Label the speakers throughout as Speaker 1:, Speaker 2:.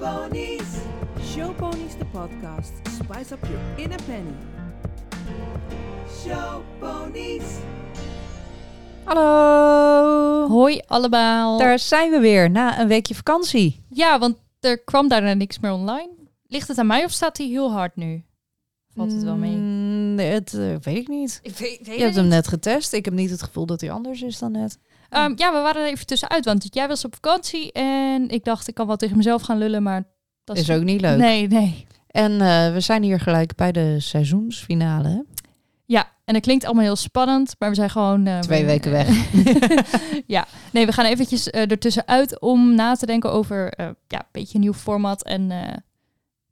Speaker 1: Showponies.
Speaker 2: Showponies de podcast. Spice up your inner penny.
Speaker 1: Showponies.
Speaker 3: Hallo!
Speaker 4: Hoi allemaal.
Speaker 3: Oh. Daar zijn we weer na een weekje vakantie.
Speaker 4: Ja, want er kwam daarna niks meer online. Ligt het aan mij of staat hij heel hard nu? Valt het wel mee?
Speaker 3: Mm, het eh, weet ik niet.
Speaker 4: Ik weet,
Speaker 3: Je hebt hem net getest. Ik heb niet het gevoel dat hij anders is dan net.
Speaker 4: Ehm, ja, we waren er even tussenuit, want jij was op vakantie en ik dacht ik kan wel tegen mezelf gaan lullen, maar dat
Speaker 3: Dat
Speaker 4: is,
Speaker 3: is ook niet leuk.
Speaker 4: Nee, nee.
Speaker 3: En eh, we zijn hier gelijk bij de seizoensfinale. hè?
Speaker 4: Ja, en dat klinkt allemaal heel spannend, maar we zijn gewoon... eh,
Speaker 3: Twee
Speaker 4: we-
Speaker 3: weken weg.
Speaker 4: Nee, we gaan eventjes eh, ertussenuit om na te denken over eh, ja, een beetje een nieuw format en eh,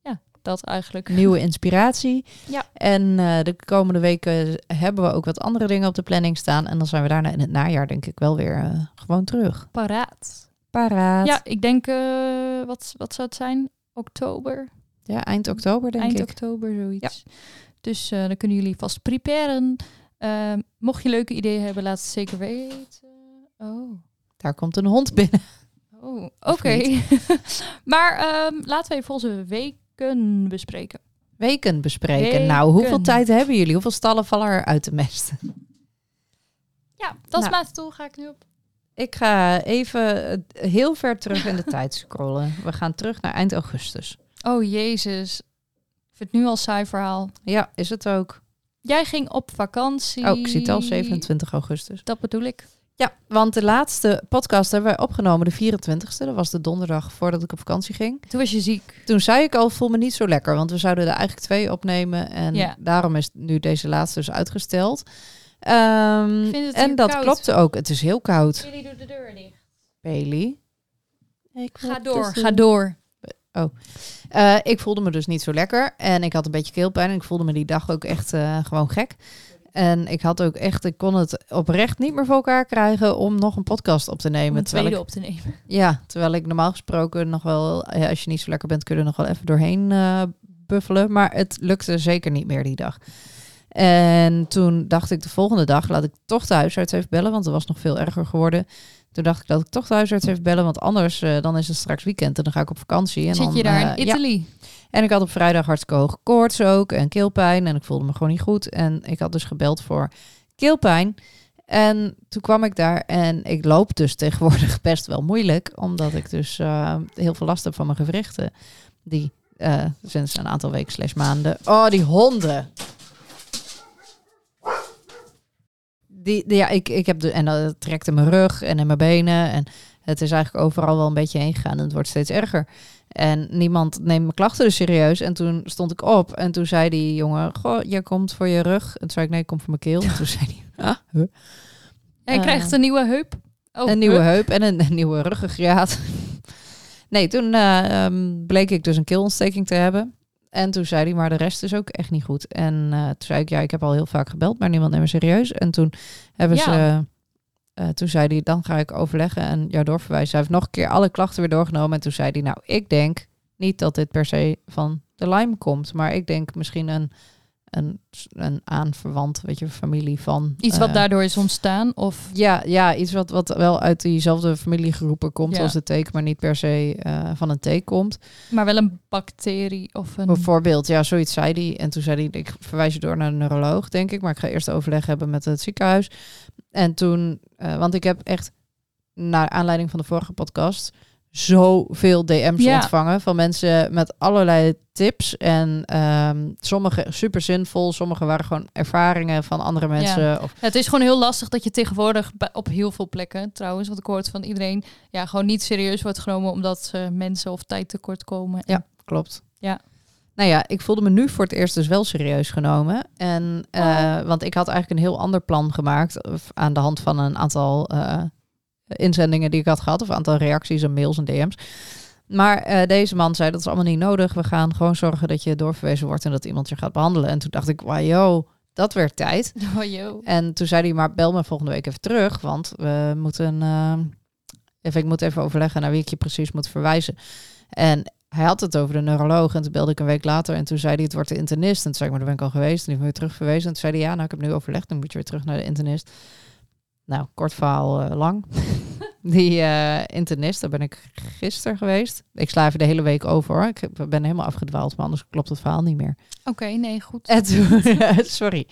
Speaker 4: ja, dat eigenlijk.
Speaker 3: Nieuwe inspiratie.
Speaker 4: Ja.
Speaker 3: En eh, de komende weken hebben we ook wat andere dingen op de planning staan. En dan zijn we daarna in het najaar denk ik wel weer eh, gewoon terug.
Speaker 4: Paraat.
Speaker 3: Paraat.
Speaker 4: Ja, ik denk, eh, wat, wat zou het zijn? Oktober?
Speaker 3: Ja, eind oktober denk
Speaker 4: Eind
Speaker 3: ik.
Speaker 4: oktober, zoiets. Dus eh, dan kunnen jullie vast preparen. Eh, mocht je leuke ideeën hebben, laat het zeker weten. Oh,
Speaker 3: Daar komt een hond binnen.
Speaker 4: oh oké. maar ehm, laten we even onze weken bespreken.
Speaker 3: Weken bespreken.
Speaker 4: Weken.
Speaker 3: Nou, hoeveel tijd hebben jullie? Hoeveel stallen vallen er uit de mest?
Speaker 4: Ja, dat is
Speaker 3: Nou.
Speaker 4: mijn stoel, ga ik nu op.
Speaker 3: Ik ga even eh, heel ver terug in de tijd scrollen. We gaan terug naar eind augustus.
Speaker 4: Oh, jezus. Ik vind het nu al een saai verhaal.
Speaker 3: Ja, is het ook.
Speaker 4: Jij ging op vakantie.
Speaker 3: Oh, ik zie het al, 27 augustus.
Speaker 4: Dat bedoel ik.
Speaker 3: Ja, want de laatste podcast hebben wij opgenomen, de 24 e Dat was de donderdag voordat ik op vakantie ging.
Speaker 4: Toen was je ziek.
Speaker 3: Toen zei ik al, voel me niet zo lekker, want we zouden er eigenlijk twee opnemen. En
Speaker 4: Ja.
Speaker 3: daarom is nu deze laatste dus uitgesteld. Ehm,
Speaker 4: Ik vind het
Speaker 3: en
Speaker 4: hier
Speaker 3: dat
Speaker 4: koud.
Speaker 3: klopte ook. Het is heel koud,
Speaker 4: Jullie doen de deur dicht.
Speaker 3: Bailey. Ik
Speaker 4: Ga door, ga door.
Speaker 3: Eh, ik voelde me dus niet zo lekker. En ik had een beetje keelpijn. En ik voelde me die dag ook echt eh, gewoon gek. En ik had ook echt, ik kon het oprecht niet meer voor elkaar krijgen om nog een podcast op te
Speaker 4: Om
Speaker 3: nemen.
Speaker 4: een
Speaker 3: Terwijl
Speaker 4: tweede
Speaker 3: ik,
Speaker 4: op te nemen.
Speaker 3: ja, terwijl ik normaal gesproken nog wel, ja, als je niet zo lekker bent, kun je er nog wel even doorheen eh, buffelen. Maar het lukte zeker niet meer die dag. En toen dacht ik de volgende dag, laat ik toch de huisarts even bellen, want het was nog veel erger geworden. Toen dacht ik, laat ik toch de huisarts even bellen, want anders eh, dan is het straks weekend en dan ga ik op vakantie. En
Speaker 4: Zit
Speaker 3: dan,
Speaker 4: je daar
Speaker 3: eh,
Speaker 4: in
Speaker 3: ja,
Speaker 4: Italië?
Speaker 3: en ik had op vrijdag hartstikke hoge koorts ook en keelpijn. En ik voelde me gewoon niet goed. En ik had dus gebeld voor keelpijn. En toen kwam ik daar en ik loop dus tegenwoordig best wel moeilijk. Omdat ik dus eh, heel veel last heb van mijn gewrichten. Die eh, sinds een aantal weken slash maanden... Oh, die honden! Die, die- ja, ik, ik heb de, en dat trekt in mijn rug en in mijn benen. En het is eigenlijk overal wel een beetje heen gegaan. En het wordt steeds erger. En niemand neemt mijn klachten dus serieus. En toen stond ik op en toen zei die jongen... Goh, jij komt voor je rug. En toen zei ik, nee, ik kom voor mijn keel. En toen zei hij... Ah, huh?
Speaker 4: Hij
Speaker 3: Eh,
Speaker 4: krijgt een nieuwe heup. Oh,
Speaker 3: een nieuwe
Speaker 4: hup.
Speaker 3: heup en een, een nieuwe ruggengraat. nee, toen eh, ehm, bleek ik dus een keelontsteking te hebben. En toen zei hij, maar de rest is ook echt niet goed. En eh, toen zei ik, ja, ik heb al heel vaak gebeld, maar niemand neemt me serieus. En toen hebben
Speaker 4: Ja.
Speaker 3: ze... eh, toen zei hij, dan ga ik overleggen en jou doorverwijzen. Hij heeft nog een keer alle klachten weer doorgenomen. En toen zei hij, nou, ik denk niet dat dit per se van de Lyme komt. Maar ik denk misschien een, een, een aanverwant, weet je, familie van...
Speaker 4: Iets wat
Speaker 3: eh,
Speaker 4: daardoor is ontstaan. Of
Speaker 3: ja, ja, iets wat, wat wel uit diezelfde familiegroepen komt
Speaker 4: Ja.
Speaker 3: als de teek, maar niet per se eh, van een teek komt.
Speaker 4: maar wel een bacterie of een.
Speaker 3: Bijvoorbeeld, ja, zoiets zei hij. En toen zei hij, ik verwijs je door naar een neuroloog, denk ik. Maar ik ga eerst overleg hebben met het ziekenhuis. En toen, eh, want ik heb echt, naar aanleiding van de vorige podcast, zoveel DM's
Speaker 4: Ja.
Speaker 3: ontvangen van mensen met allerlei tips. En ehm, sommige super zinvol, sommige waren gewoon ervaringen van andere mensen. Of,
Speaker 4: Ja, het is gewoon heel lastig dat je tegenwoordig bij- op heel veel plekken, trouwens, want ik hoor het van iedereen, ja, gewoon niet serieus wordt genomen omdat eh, mensen of tijd tekort komen.
Speaker 3: Ja. Klopt.
Speaker 4: Ja.
Speaker 3: Nou ja, ik voelde me nu voor het eerst dus wel serieus genomen. En, eh,
Speaker 4: Oh.
Speaker 3: Want ik had eigenlijk een heel ander plan gemaakt of aan de hand van een aantal eh, inzendingen die ik had gehad. Of een aantal reacties en mails en DM's. Maar eh, deze man zei, dat is allemaal niet nodig. We gaan gewoon zorgen dat je doorverwezen wordt en dat iemand je gaat behandelen. En toen dacht ik, wajo, dat werd tijd.
Speaker 4: Oh, joh.
Speaker 3: En toen zei hij, maar bel me volgende week even terug, want we moeten... eh, even, ik moet even overleggen naar wie ik je precies moet verwijzen. En hij had het over de neuroloog en toen belde ik een week later en toen zei hij, het wordt de internist. En toen zei ik, maar daar ben ik al geweest en die ben weer terugverwezen. En toen zei hij, ja, nou, ik heb nu overlegd, dan moet je weer terug naar de internist. Nou, kort verhaal eh, lang. Die eh, internist, daar ben ik gisteren geweest. Ik sla even de hele week over hoor. Ik heb- ben helemaal afgedwaald, maar anders klopt het verhaal niet meer.
Speaker 4: Oké, nee, goed.
Speaker 3: En toen, sorry.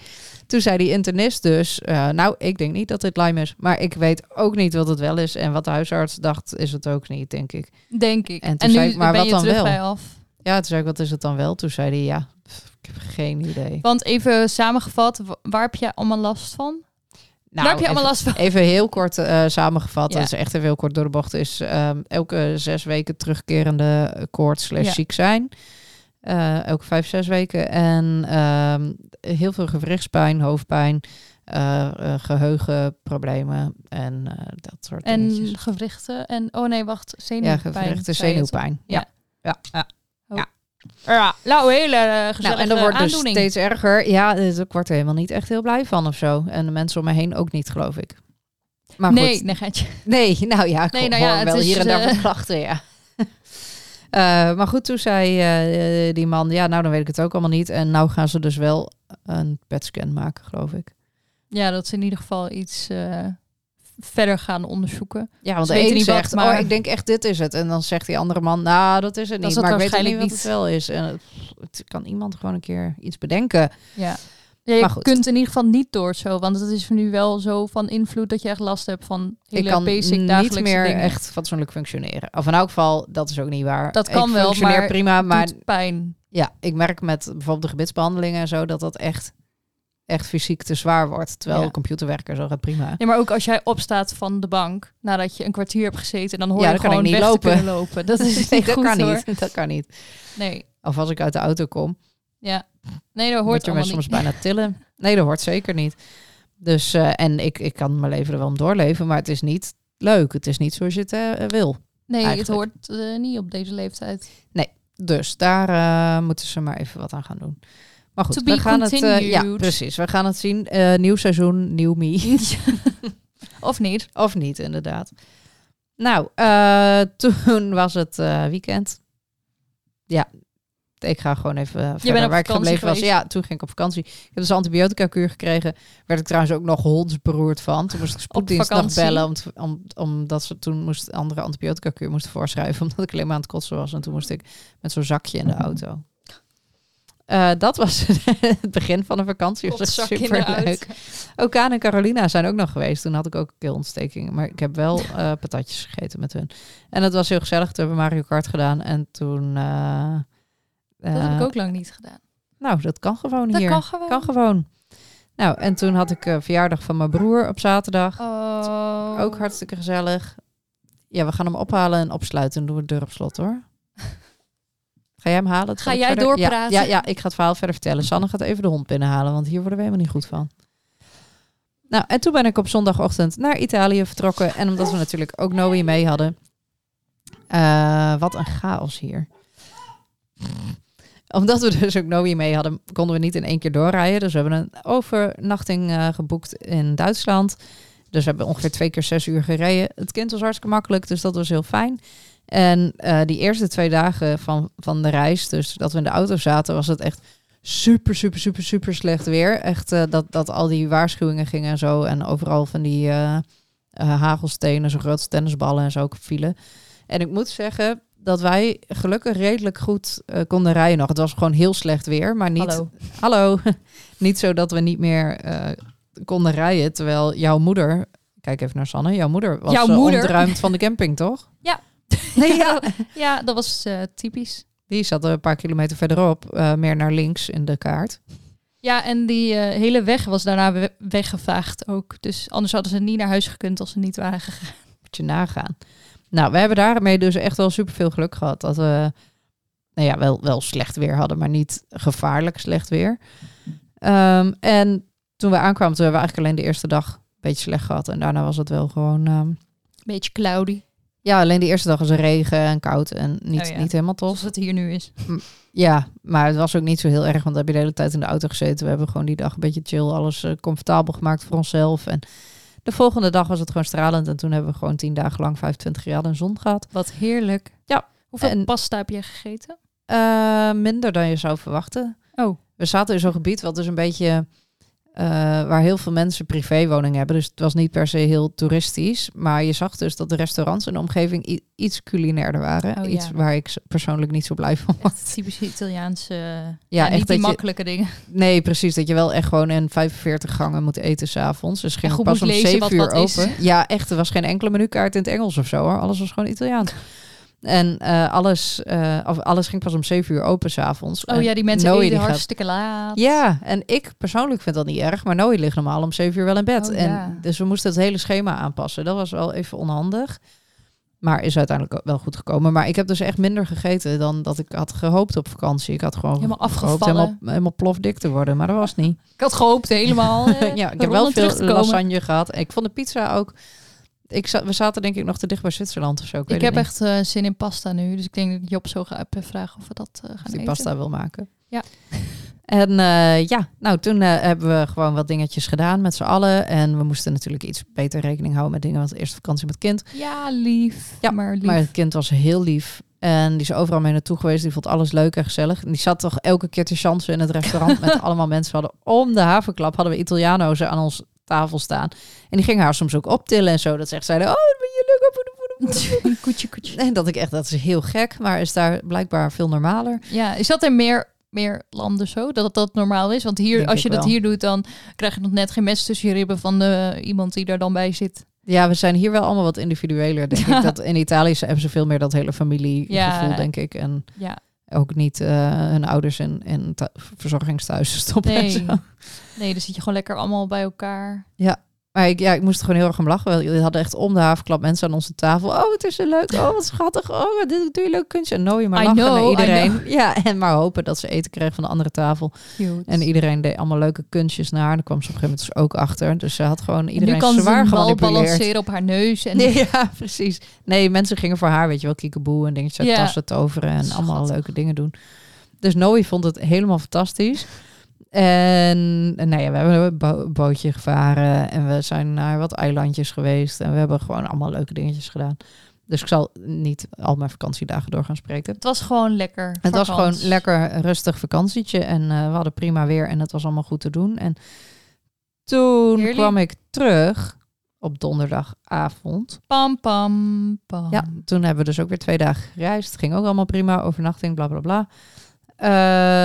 Speaker 3: Toen zei die internist dus, eh, nou, ik denk niet dat dit Lyme is. Maar ik weet ook niet wat het wel is. En wat de huisarts dacht, is het ook niet, denk ik.
Speaker 4: Denk ik.
Speaker 3: En toen zei ik, maar
Speaker 4: ben
Speaker 3: wat
Speaker 4: je
Speaker 3: dan
Speaker 4: terug
Speaker 3: wel?
Speaker 4: bij af.
Speaker 3: Ja, toen zei ik, wat is het dan wel? Toen zei hij, ja, pff, ik heb geen idee.
Speaker 4: Want even samengevat, wa- waar heb je allemaal last van? waar heb je
Speaker 3: Nou, even,
Speaker 4: allemaal last van?
Speaker 3: even heel kort eh, samengevat,
Speaker 4: Ja.
Speaker 3: dat is echt even heel kort door de bocht, is ehm, elke zes weken terugkerende eh, koorts slash
Speaker 4: Ja.
Speaker 3: ziek zijn. Eh, elke vijf, zes weken. En ehm, heel veel gewrichtspijn, hoofdpijn, eh, eh, geheugenproblemen en eh, dat soort
Speaker 4: En
Speaker 3: dingetjes.
Speaker 4: gewrichten en... Oh nee, wacht.
Speaker 3: Ja,
Speaker 4: Zenuwpijn.
Speaker 3: gewrichten,
Speaker 4: zei je,
Speaker 3: zenuwpijn. Ja. Ja. ja.
Speaker 4: Ja, nou, hele eh, gezellige
Speaker 3: Nou, en dat wordt dus
Speaker 4: aandoening.
Speaker 3: steeds erger. Ja, dus ik word er helemaal niet echt heel blij van of zo. En de mensen om me heen ook niet, geloof ik. Maar Nou, goed.
Speaker 4: nee, nee, geintje.
Speaker 3: Nee, nou ja, ik
Speaker 4: Nee, nou
Speaker 3: hoor
Speaker 4: ja, het
Speaker 3: wel
Speaker 4: is,
Speaker 3: hier en daar wat
Speaker 4: eh,
Speaker 3: klachten, ja. Eh, maar goed, toen zei eh, die man, ja, nou dan weet ik het ook allemaal niet. En nou gaan ze dus wel een PET-scan maken, geloof ik.
Speaker 4: Ja, dat ze in ieder geval iets eh, verder gaan onderzoeken.
Speaker 3: Ja, want
Speaker 4: Ze
Speaker 3: de
Speaker 4: weten
Speaker 3: ene
Speaker 4: niet
Speaker 3: zegt,
Speaker 4: wat, maar-
Speaker 3: oh, ik denk echt dit is het. En dan zegt die andere man, nou, dat is het niet.
Speaker 4: Dat is het
Speaker 3: maar ik weet ook niet
Speaker 4: waarschijnlijk
Speaker 3: wat het wel
Speaker 4: niet.
Speaker 3: is. En eh, pff, het kan iemand gewoon een keer iets bedenken.
Speaker 4: Ja. Ja, je
Speaker 3: Maar goed.
Speaker 4: kunt in ieder geval niet door zo, want het is nu wel zo van invloed dat je echt last hebt van hele
Speaker 3: ik kan
Speaker 4: basic
Speaker 3: niet
Speaker 4: dagelijkse
Speaker 3: meer
Speaker 4: dingen.
Speaker 3: echt fatsoenlijk functioneren. Of in elk geval, dat is ook niet waar.
Speaker 4: Dat kan
Speaker 3: ik
Speaker 4: wel,
Speaker 3: functioneer
Speaker 4: maar
Speaker 3: prima, maar
Speaker 4: Doet pijn.
Speaker 3: Ja, ik merk met bijvoorbeeld de gebitsbehandelingen en zo dat dat echt, echt fysiek te zwaar wordt. Terwijl
Speaker 4: Ja.
Speaker 3: computerwerken zo gaat prima.
Speaker 4: Ja, maar ook als jij opstaat van de bank nadat je een kwartier hebt gezeten, dan hoor
Speaker 3: Ja,
Speaker 4: je
Speaker 3: dan kan ik
Speaker 4: gewoon
Speaker 3: niet
Speaker 4: weg te
Speaker 3: lopen.
Speaker 4: kunnen lopen. Dat is niet
Speaker 3: Nee, dat
Speaker 4: goed
Speaker 3: kan
Speaker 4: hoor.
Speaker 3: niet. Dat kan niet.
Speaker 4: Nee,
Speaker 3: Of als ik uit de auto kom,
Speaker 4: ja. Nee, dat
Speaker 3: hoort
Speaker 4: hoort
Speaker 3: je me
Speaker 4: allemaal
Speaker 3: soms
Speaker 4: niet.
Speaker 3: bijna tillen. Nee, dat hoort zeker niet. Dus eh, en ik, ik kan mijn leven er wel om doorleven, maar het is niet leuk. Het is niet zoals je het eh, wil.
Speaker 4: Nee, het
Speaker 3: eigenlijk.
Speaker 4: hoort eh, niet op deze leeftijd.
Speaker 3: Dus daar eh, moeten ze maar even wat aan gaan doen. Maar goed,
Speaker 4: To
Speaker 3: we
Speaker 4: be
Speaker 3: gaan het. eh, ja,
Speaker 4: continued.
Speaker 3: precies. We gaan het zien. Eh, nieuw seizoen, nieuw me.
Speaker 4: Of niet?
Speaker 3: Of niet, inderdaad. Nou, eh, toen was het eh, weekend. Ja, ik ga gewoon even eh, verder
Speaker 4: op
Speaker 3: waar ik
Speaker 4: vakantie
Speaker 3: gebleven was.
Speaker 4: geweest?
Speaker 3: Ja, toen ging ik op vakantie. Ik heb dus een antibiotica-kuur gekregen. Werd ik trouwens ook nog hondsberoerd van. Toen moest ik spoeddienst nog
Speaker 4: vakantie?
Speaker 3: bellen. Om te- om, omdat ze toen moest andere antibiotica-kuur moesten voorschrijven. Omdat ik alleen maar aan het kotsen was. En toen moest ik met zo'n zakje in de auto. Eh, dat was het begin van de vakantie. Dat was
Speaker 4: Kotzak in de
Speaker 3: superleuk.
Speaker 4: uit.
Speaker 3: Ook Kaan en Carolina zijn ook nog geweest. Toen had ik ook keelontsteking. Maar ik heb wel eh, patatjes gegeten met hun. En dat was heel gezellig. Toen hebben we Mario Kart gedaan. En toen... eh,
Speaker 4: Dat heb
Speaker 3: eh,
Speaker 4: ik ook lang niet gedaan.
Speaker 3: Nou, dat kan gewoon
Speaker 4: Dat
Speaker 3: hier.
Speaker 4: kan gewoon.
Speaker 3: Kan gewoon. Nou, en toen had ik eh, verjaardag van mijn broer op zaterdag.
Speaker 4: Oh.
Speaker 3: Ook hartstikke gezellig. Ja, we gaan hem ophalen en opsluiten. En doen we de deur op slot, hoor. Ga jij hem halen?
Speaker 4: Ga
Speaker 3: Zal ik
Speaker 4: jij
Speaker 3: verder-
Speaker 4: doorpraten?
Speaker 3: Ja, ja, ja, ik ga het verhaal verder vertellen. Sanne gaat even de hond binnenhalen, want hier worden we helemaal niet goed van. Nou, en toen ben ik op zondagochtend naar Italië vertrokken. En omdat we natuurlijk ook Noe mee hadden. Eh, wat een chaos hier. Omdat we dus ook Noe mee hadden, konden we niet in één keer doorrijden. Dus we hebben een overnachting eh, geboekt in Duitsland. Dus we hebben ongeveer twee keer zes uur gereden. Het kind was hartstikke makkelijk, dus dat was heel fijn. En eh, die eerste twee dagen van, van de reis, dus dat we in de auto zaten, was het echt super, super, super, super slecht weer. Echt eh, dat, dat al die waarschuwingen gingen en zo. En overal van die eh, eh, hagelstenen, zo groot als tennisballen en zo ook vielen. En ik moet zeggen dat wij gelukkig redelijk goed eh, konden rijden nog. Het was gewoon heel slecht weer, maar niet...
Speaker 4: Hallo.
Speaker 3: Hallo. niet zo dat we niet meer eh, konden rijden. Terwijl jouw moeder, kijk even naar Sanne, jouw moeder was
Speaker 4: Jouw
Speaker 3: eh,
Speaker 4: moeder?
Speaker 3: ontruimd van de camping, toch?
Speaker 4: Ja.
Speaker 3: Nee, ja.
Speaker 4: Ja, dat was eh, typisch.
Speaker 3: Die zat een paar kilometer verderop, eh, meer naar links in de kaart.
Speaker 4: Ja, en die eh, hele weg was daarna we- weggevaagd ook. Dus anders hadden ze niet naar huis gekund als ze niet waren gegaan.
Speaker 3: Moet je nagaan. Nou, we hebben daarmee dus echt wel super veel geluk gehad. Dat we nou ja, wel, wel slecht weer hadden, maar niet gevaarlijk slecht weer. Ehm, en toen we aankwamen, toen hebben we eigenlijk alleen de eerste dag een beetje slecht gehad. En daarna was het wel gewoon ehm,
Speaker 4: Beetje cloudy,
Speaker 3: Ja, alleen de eerste dag was er regen en koud en niet,
Speaker 4: Oh ja.
Speaker 3: niet helemaal tof.
Speaker 4: zoals het hier nu is.
Speaker 3: Ja, maar het was ook niet zo heel erg, want we hebben de hele tijd in de auto gezeten. We hebben gewoon die dag een beetje chill, alles eh, comfortabel gemaakt voor onszelf. En de volgende dag was het gewoon stralend en toen hebben we gewoon tien dagen lang 25 graden en zon gehad.
Speaker 4: Wat heerlijk.
Speaker 3: Ja,
Speaker 4: Hoeveel
Speaker 3: en-
Speaker 4: pasta heb je gegeten?
Speaker 3: Eh, minder dan je zou verwachten.
Speaker 4: Oh.
Speaker 3: We zaten in zo'n gebied wat dus een beetje eh, eh, waar heel veel mensen privéwoningen hebben. Dus het was niet per se heel toeristisch. Maar je zag dus dat de restaurants in de omgeving i- iets culinairder waren.
Speaker 4: Oh, ja.
Speaker 3: iets waar ik s- persoonlijk niet zo blij van
Speaker 4: Echt
Speaker 3: was.
Speaker 4: typisch Italiaanse.
Speaker 3: Ja, echt
Speaker 4: niet
Speaker 3: dat
Speaker 4: die
Speaker 3: je-
Speaker 4: makkelijke dingen.
Speaker 3: Nee, precies. Dat je wel echt gewoon in 45 gangen moet eten s'avonds. Dus ging het
Speaker 4: En goed
Speaker 3: pas om
Speaker 4: moet lezen
Speaker 3: 7
Speaker 4: wat
Speaker 3: uur
Speaker 4: wat is.
Speaker 3: open. Ja, echt. Er was geen enkele menukaart in het Engels of zo. Hoor. Alles was gewoon Italiaans. En eh, alles, eh, of alles ging pas om 7 uur open s'avonds.
Speaker 4: Oh ja, die mensen
Speaker 3: Noe,
Speaker 4: eten
Speaker 3: die gaat-
Speaker 4: hartstikke laat.
Speaker 3: Ja, en ik persoonlijk vind dat niet erg, maar Noe ligt normaal om zeven uur wel in bed.
Speaker 4: Oh,
Speaker 3: en
Speaker 4: ja.
Speaker 3: Dus we moesten het hele schema aanpassen. Dat was wel even onhandig. Maar is uiteindelijk ook wel goed gekomen. Maar ik heb dus echt minder gegeten dan dat ik had gehoopt op vakantie. Ik had gewoon
Speaker 4: Helemaal
Speaker 3: gehoopt
Speaker 4: afgevallen.
Speaker 3: helemaal, helemaal plofdik te worden, maar dat was niet.
Speaker 4: Ik had gehoopt helemaal. eh,
Speaker 3: Ja, ik heb wel
Speaker 4: rondom terug te
Speaker 3: veel
Speaker 4: komen.
Speaker 3: lasagne gehad. Ik vond de pizza ook... Ik za- we zaten denk ik nog te dicht bij Zwitserland of zo. Ik, weet
Speaker 4: Ik
Speaker 3: het niet.
Speaker 4: heb echt eh, zin in pasta nu. Dus ik denk dat Job zo gaat vragen of we dat eh, gaan
Speaker 3: Als die
Speaker 4: eten.
Speaker 3: pasta wil maken.
Speaker 4: Ja.
Speaker 3: En eh, ja, nou toen eh, hebben we gewoon wat dingetjes gedaan met z'n allen. En we moesten natuurlijk iets beter rekening houden met dingen. Want eerste vakantie met kind.
Speaker 4: Ja, lief.
Speaker 3: Ja,
Speaker 4: maar lief.
Speaker 3: Maar het kind was heel lief. En die is overal mee naartoe geweest. Die vond alles leuk en gezellig. En die zat toch elke keer te chansen in het restaurant. met allemaal mensen We hadden om de havenklap. Hadden we Italiano's aan ons tafel staan. En die gingen haar soms ook optillen en zo. Dat ze echt zeiden, oh, dat ben je leuk. op- op- op- op- op."
Speaker 4: koetje, koetje.
Speaker 3: En dat ik echt, dat is heel gek. Maar is daar blijkbaar veel normaler.
Speaker 4: Ja, is dat in meer, meer landen zo? Dat dat normaal is? Want hier,
Speaker 3: Denk
Speaker 4: als je
Speaker 3: ik
Speaker 4: dat
Speaker 3: wel.
Speaker 4: hier doet, dan krijg je nog net geen mes tussen je ribben van eh, iemand die daar dan bij zit.
Speaker 3: Ja, we zijn hier wel allemaal wat individueler. Denk
Speaker 4: Ja.
Speaker 3: ik. Dat in Italië ze- hebben ze veel meer dat hele familiegevoel,
Speaker 4: Ja.
Speaker 3: denk ik. En
Speaker 4: Ja,
Speaker 3: ook niet eh, hun ouders in, in thu- verzorgingsthuizen stoppen. en
Speaker 4: nee.
Speaker 3: zo.
Speaker 4: Nee, dan zit je gewoon lekker allemaal bij elkaar.
Speaker 3: Maar ik, ja, ik moest er gewoon heel erg om lachen. Jullie hadden echt om de havenklap mensen aan onze tafel. Oh, het is zo leuk. Oh, wat schattig. Oh, wat doe, doe je leuk kunstje. En nooien maar
Speaker 4: I
Speaker 3: lachen naar
Speaker 4: know, I
Speaker 3: iedereen. Ja, en maar hopen dat ze eten kregen van de andere tafel.
Speaker 4: Cute.
Speaker 3: En iedereen deed allemaal leuke kunstjes naar haar. En daar kwam ze op een gegeven moment dus ook achter. Dus ze had gewoon iedereen
Speaker 4: nu kan ze
Speaker 3: zwaar
Speaker 4: een bal
Speaker 3: gemanipuleerd.
Speaker 4: balanceren op haar neus. En
Speaker 3: Nee, ja, precies. Nee, mensen gingen voor haar, weet je wel, kiekeboe en dingetjes uit
Speaker 4: Ja.
Speaker 3: tassen toveren en
Speaker 4: Schattig.
Speaker 3: allemaal leuke dingen doen. Dus Noe vond het helemaal fantastisch. En, en nou ja, we hebben een bo- bootje gevaren en we zijn naar wat eilandjes geweest en we hebben gewoon allemaal leuke dingetjes gedaan. Dus ik zal niet al mijn vakantiedagen door gaan spreken.
Speaker 4: Het was gewoon lekker.
Speaker 3: Het was
Speaker 4: Vakant.
Speaker 3: gewoon lekker een rustig vakantietje en eh, we hadden prima weer en het was allemaal goed te doen. En toen
Speaker 4: Heerlijk.
Speaker 3: kwam ik terug op donderdagavond.
Speaker 4: Pam, pam, pam.
Speaker 3: Ja, toen hebben we dus ook weer twee dagen gereisd. Ging ook allemaal prima, overnachting, bla bla bla.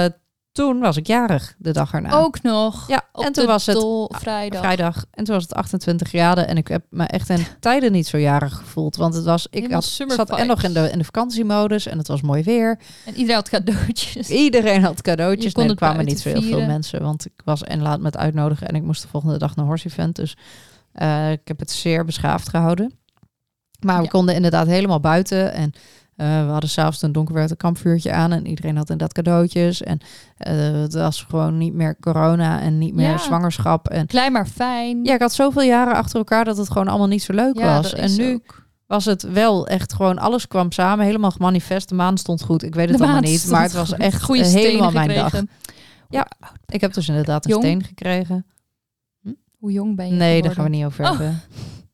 Speaker 3: Eh, toen was ik jarig, de dag erna.
Speaker 4: Ook nog.
Speaker 3: ja,
Speaker 4: Op
Speaker 3: en toen
Speaker 4: de
Speaker 3: was het
Speaker 4: dol- vrijdag.
Speaker 3: vrijdag en toen was het 28 graden. En ik heb me echt in tijden niet zo jarig gevoeld. Want het was, ik
Speaker 4: Helemaal
Speaker 3: had,
Speaker 4: summer
Speaker 3: zat en
Speaker 4: vibes.
Speaker 3: nog in de, in de vakantiemodus en het was mooi weer.
Speaker 4: En iedereen had cadeautjes.
Speaker 3: Iedereen had
Speaker 4: Dus Je
Speaker 3: cadeautjes. Nee,
Speaker 4: kon
Speaker 3: er
Speaker 4: het
Speaker 3: kwamen
Speaker 4: buiten
Speaker 3: niet zo heel veel
Speaker 4: vieren.
Speaker 3: mensen, want ik was en laat met uitnodigen en ik moest de volgende dag naar Horse Event. Dus eh, ik heb het zeer beschaafd gehouden. Maar we
Speaker 4: Ja.
Speaker 3: konden inderdaad helemaal buiten en eh, we hadden s'avonds een donker werd een kampvuurtje aan en iedereen had inderdaad cadeautjes. En eh, het was gewoon niet meer corona en niet meer
Speaker 4: Ja.
Speaker 3: zwangerschap. En
Speaker 4: Klein maar fijn.
Speaker 3: ja, ik had zoveel jaren achter elkaar dat het gewoon allemaal niet zo leuk
Speaker 4: Ja,
Speaker 3: was.
Speaker 4: dat
Speaker 3: En
Speaker 4: is
Speaker 3: nu
Speaker 4: ook.
Speaker 3: was het wel echt gewoon, alles kwam samen, helemaal manifest. De maan stond goed, ik weet het
Speaker 4: De
Speaker 3: allemaal
Speaker 4: maan
Speaker 3: niet,
Speaker 4: stond
Speaker 3: maar het was
Speaker 4: goed.
Speaker 3: echt eh,
Speaker 4: Goeie stenen
Speaker 3: helemaal mijn dag.
Speaker 4: gekregen.
Speaker 3: Ik heb dus inderdaad een
Speaker 4: Jong?
Speaker 3: steen gekregen.
Speaker 4: Hoe jong ben je
Speaker 3: nee, daar
Speaker 4: geworden?
Speaker 3: gaan we niet over
Speaker 4: Oh.
Speaker 3: hebben.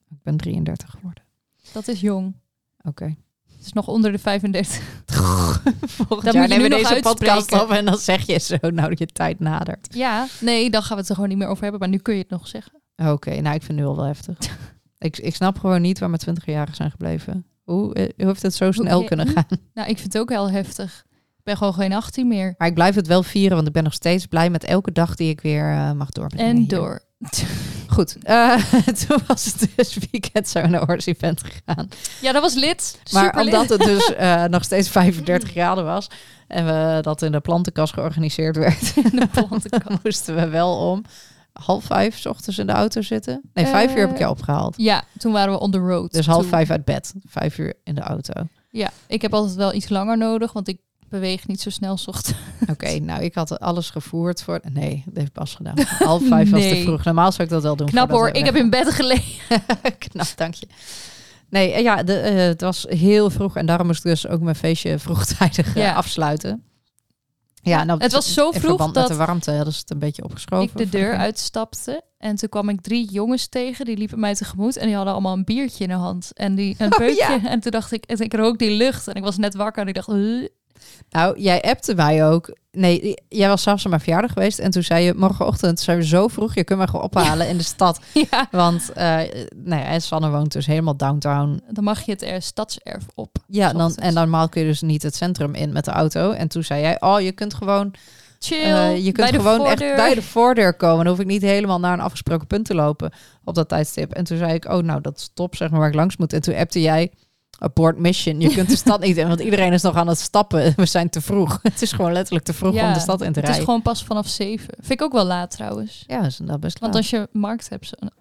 Speaker 3: Ik ben 33 geworden.
Speaker 4: Dat is jong.
Speaker 3: Oké.
Speaker 4: Het is nog onder de 35.
Speaker 3: Volgend
Speaker 4: Dat
Speaker 3: jaar
Speaker 4: moet
Speaker 3: nemen
Speaker 4: je nu
Speaker 3: we
Speaker 4: nog
Speaker 3: deze podcast
Speaker 4: uitspreken.
Speaker 3: op en dan zeg je zo, nou je tijd nadert.
Speaker 4: Ja, nee, dan gaan we het er gewoon niet meer over hebben. Maar nu kun je het nog zeggen.
Speaker 3: Oké, nou ik vind nu al wel heftig. ik, ik snap gewoon niet waar mijn 20-jarigen zijn gebleven. Hoe, eh, hoe heeft het zo snel
Speaker 4: Hoe-
Speaker 3: kunnen gaan?
Speaker 4: Nou, ik vind het ook heel heftig. Ik ben gewoon geen 18 meer.
Speaker 3: Maar ik blijf het wel vieren, want ik ben nog steeds blij met elke dag die ik weer eh, mag doorbrengen.
Speaker 4: En
Speaker 3: hier.
Speaker 4: door.
Speaker 3: Goed, eh, toen was het dus weekend zijn we naar Horse Event gegaan.
Speaker 4: Ja, dat was lid.
Speaker 3: Maar
Speaker 4: Super
Speaker 3: omdat het dus eh, nog steeds 35 graden was en we dat in de plantenkast georganiseerd werd,
Speaker 4: de plantenkast.
Speaker 3: moesten we wel om half vijf 's ochtends in de auto zitten. Nee, vijf
Speaker 4: Eh,
Speaker 3: uur heb ik je opgehaald.
Speaker 4: Ja, toen waren we on the road.
Speaker 3: Dus half
Speaker 4: to-
Speaker 3: vijf uit bed, vijf uur in de auto.
Speaker 4: Ja, ik heb altijd wel iets langer nodig, want ik beweeg niet zo snel 's ochtends.
Speaker 3: Oké, nou ik had alles gevoerd voor. Nee, dat heeft pas gedaan. Half vijf was te
Speaker 4: Nee.
Speaker 3: vroeg. Normaal zou ik dat wel doen.
Speaker 4: Knap
Speaker 3: voordat
Speaker 4: hoor,
Speaker 3: we
Speaker 4: ik heb in bed gelegen.
Speaker 3: Knap, dank je. Nee, eh, ja, de, eh, het was heel vroeg en daarom moest ik dus ook mijn feestje vroegtijdig eh,
Speaker 4: Ja.
Speaker 3: afsluiten. Ja, nou,
Speaker 4: Het was zo
Speaker 3: in
Speaker 4: vroeg
Speaker 3: verband
Speaker 4: dat
Speaker 3: met de warmte hadden ze het een beetje opgeschoven.
Speaker 4: ik de deur
Speaker 3: Van-
Speaker 4: uitstapte en toen kwam ik drie jongens tegen, die liepen mij tegemoet en die hadden allemaal een biertje in de hand en die een
Speaker 3: Oh,
Speaker 4: peukje.
Speaker 3: ja.
Speaker 4: En toen dacht ik, en ik rook die lucht en ik was net wakker en ik dacht, "Ugh."
Speaker 3: Nou, jij appte mij ook. Nee, jij was s'avonds aan mijn verjaardag geweest. En toen zei je, morgenochtend zijn we zo vroeg. Je kunt me gewoon ophalen in de stad.
Speaker 4: ja.
Speaker 3: Want eh nou ja, en Sanne woont dus helemaal downtown.
Speaker 4: Dan mag je het er, stadserf op.
Speaker 3: Ja, en dan,
Speaker 4: Ochtends.
Speaker 3: en normaal kun je dus niet het centrum in met de auto. En toen zei jij, oh, je kunt gewoon,
Speaker 4: Chill.
Speaker 3: eh, je kunt
Speaker 4: bij de
Speaker 3: gewoon echt
Speaker 4: voordeur.
Speaker 3: bij de voordeur komen. Dan hoef ik niet helemaal naar een afgesproken punt te lopen op dat tijdstip. En toen zei ik, oh, nou, dat is top, zeg maar, waar ik langs moet. En toen appte jij, abort mission. Je kunt de stad niet in, want iedereen is nog aan het stappen. We zijn te vroeg. Het is gewoon letterlijk te vroeg om
Speaker 4: Ja,
Speaker 3: de stad in te
Speaker 4: Het is
Speaker 3: rijden.
Speaker 4: gewoon pas vanaf zeven. Vind ik ook wel laat trouwens.
Speaker 3: Ja, dat is inderdaad best
Speaker 4: Want
Speaker 3: laat.
Speaker 4: als je markt hebt... zo- nou,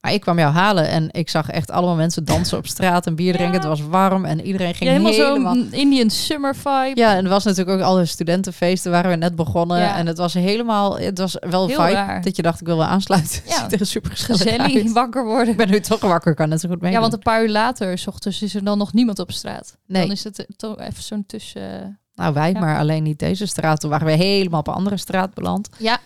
Speaker 3: Maar ik kwam jou halen en ik zag echt allemaal mensen dansen op straat en bier drinken.
Speaker 4: Ja.
Speaker 3: Het was warm en iedereen
Speaker 4: Ja,
Speaker 3: ging
Speaker 4: helemaal,
Speaker 3: helemaal...
Speaker 4: zo'n Indian summer vibe.
Speaker 3: Ja, en er was natuurlijk ook al een studentenfeest. Daar waren we net begonnen.
Speaker 4: Ja.
Speaker 3: En het was helemaal... Het was wel een
Speaker 4: Heel
Speaker 3: vibe
Speaker 4: raar.
Speaker 3: dat je dacht, ik wil wel aansluiten.
Speaker 4: Ja.
Speaker 3: Ziet er super gezellig uit.
Speaker 4: Gezellig, wakker worden.
Speaker 3: Ik ben nu toch wakker, kan net zo goed mee.
Speaker 4: Ja, want een paar uur later, s ochtends, is er dan nog niemand op straat.
Speaker 3: Nee.
Speaker 4: Dan is het eh, to- even zo'n tussen...
Speaker 3: Nou, wij,
Speaker 4: Ja.
Speaker 3: maar alleen niet deze straat. Toen waren we helemaal op een andere straat beland.
Speaker 4: Ja,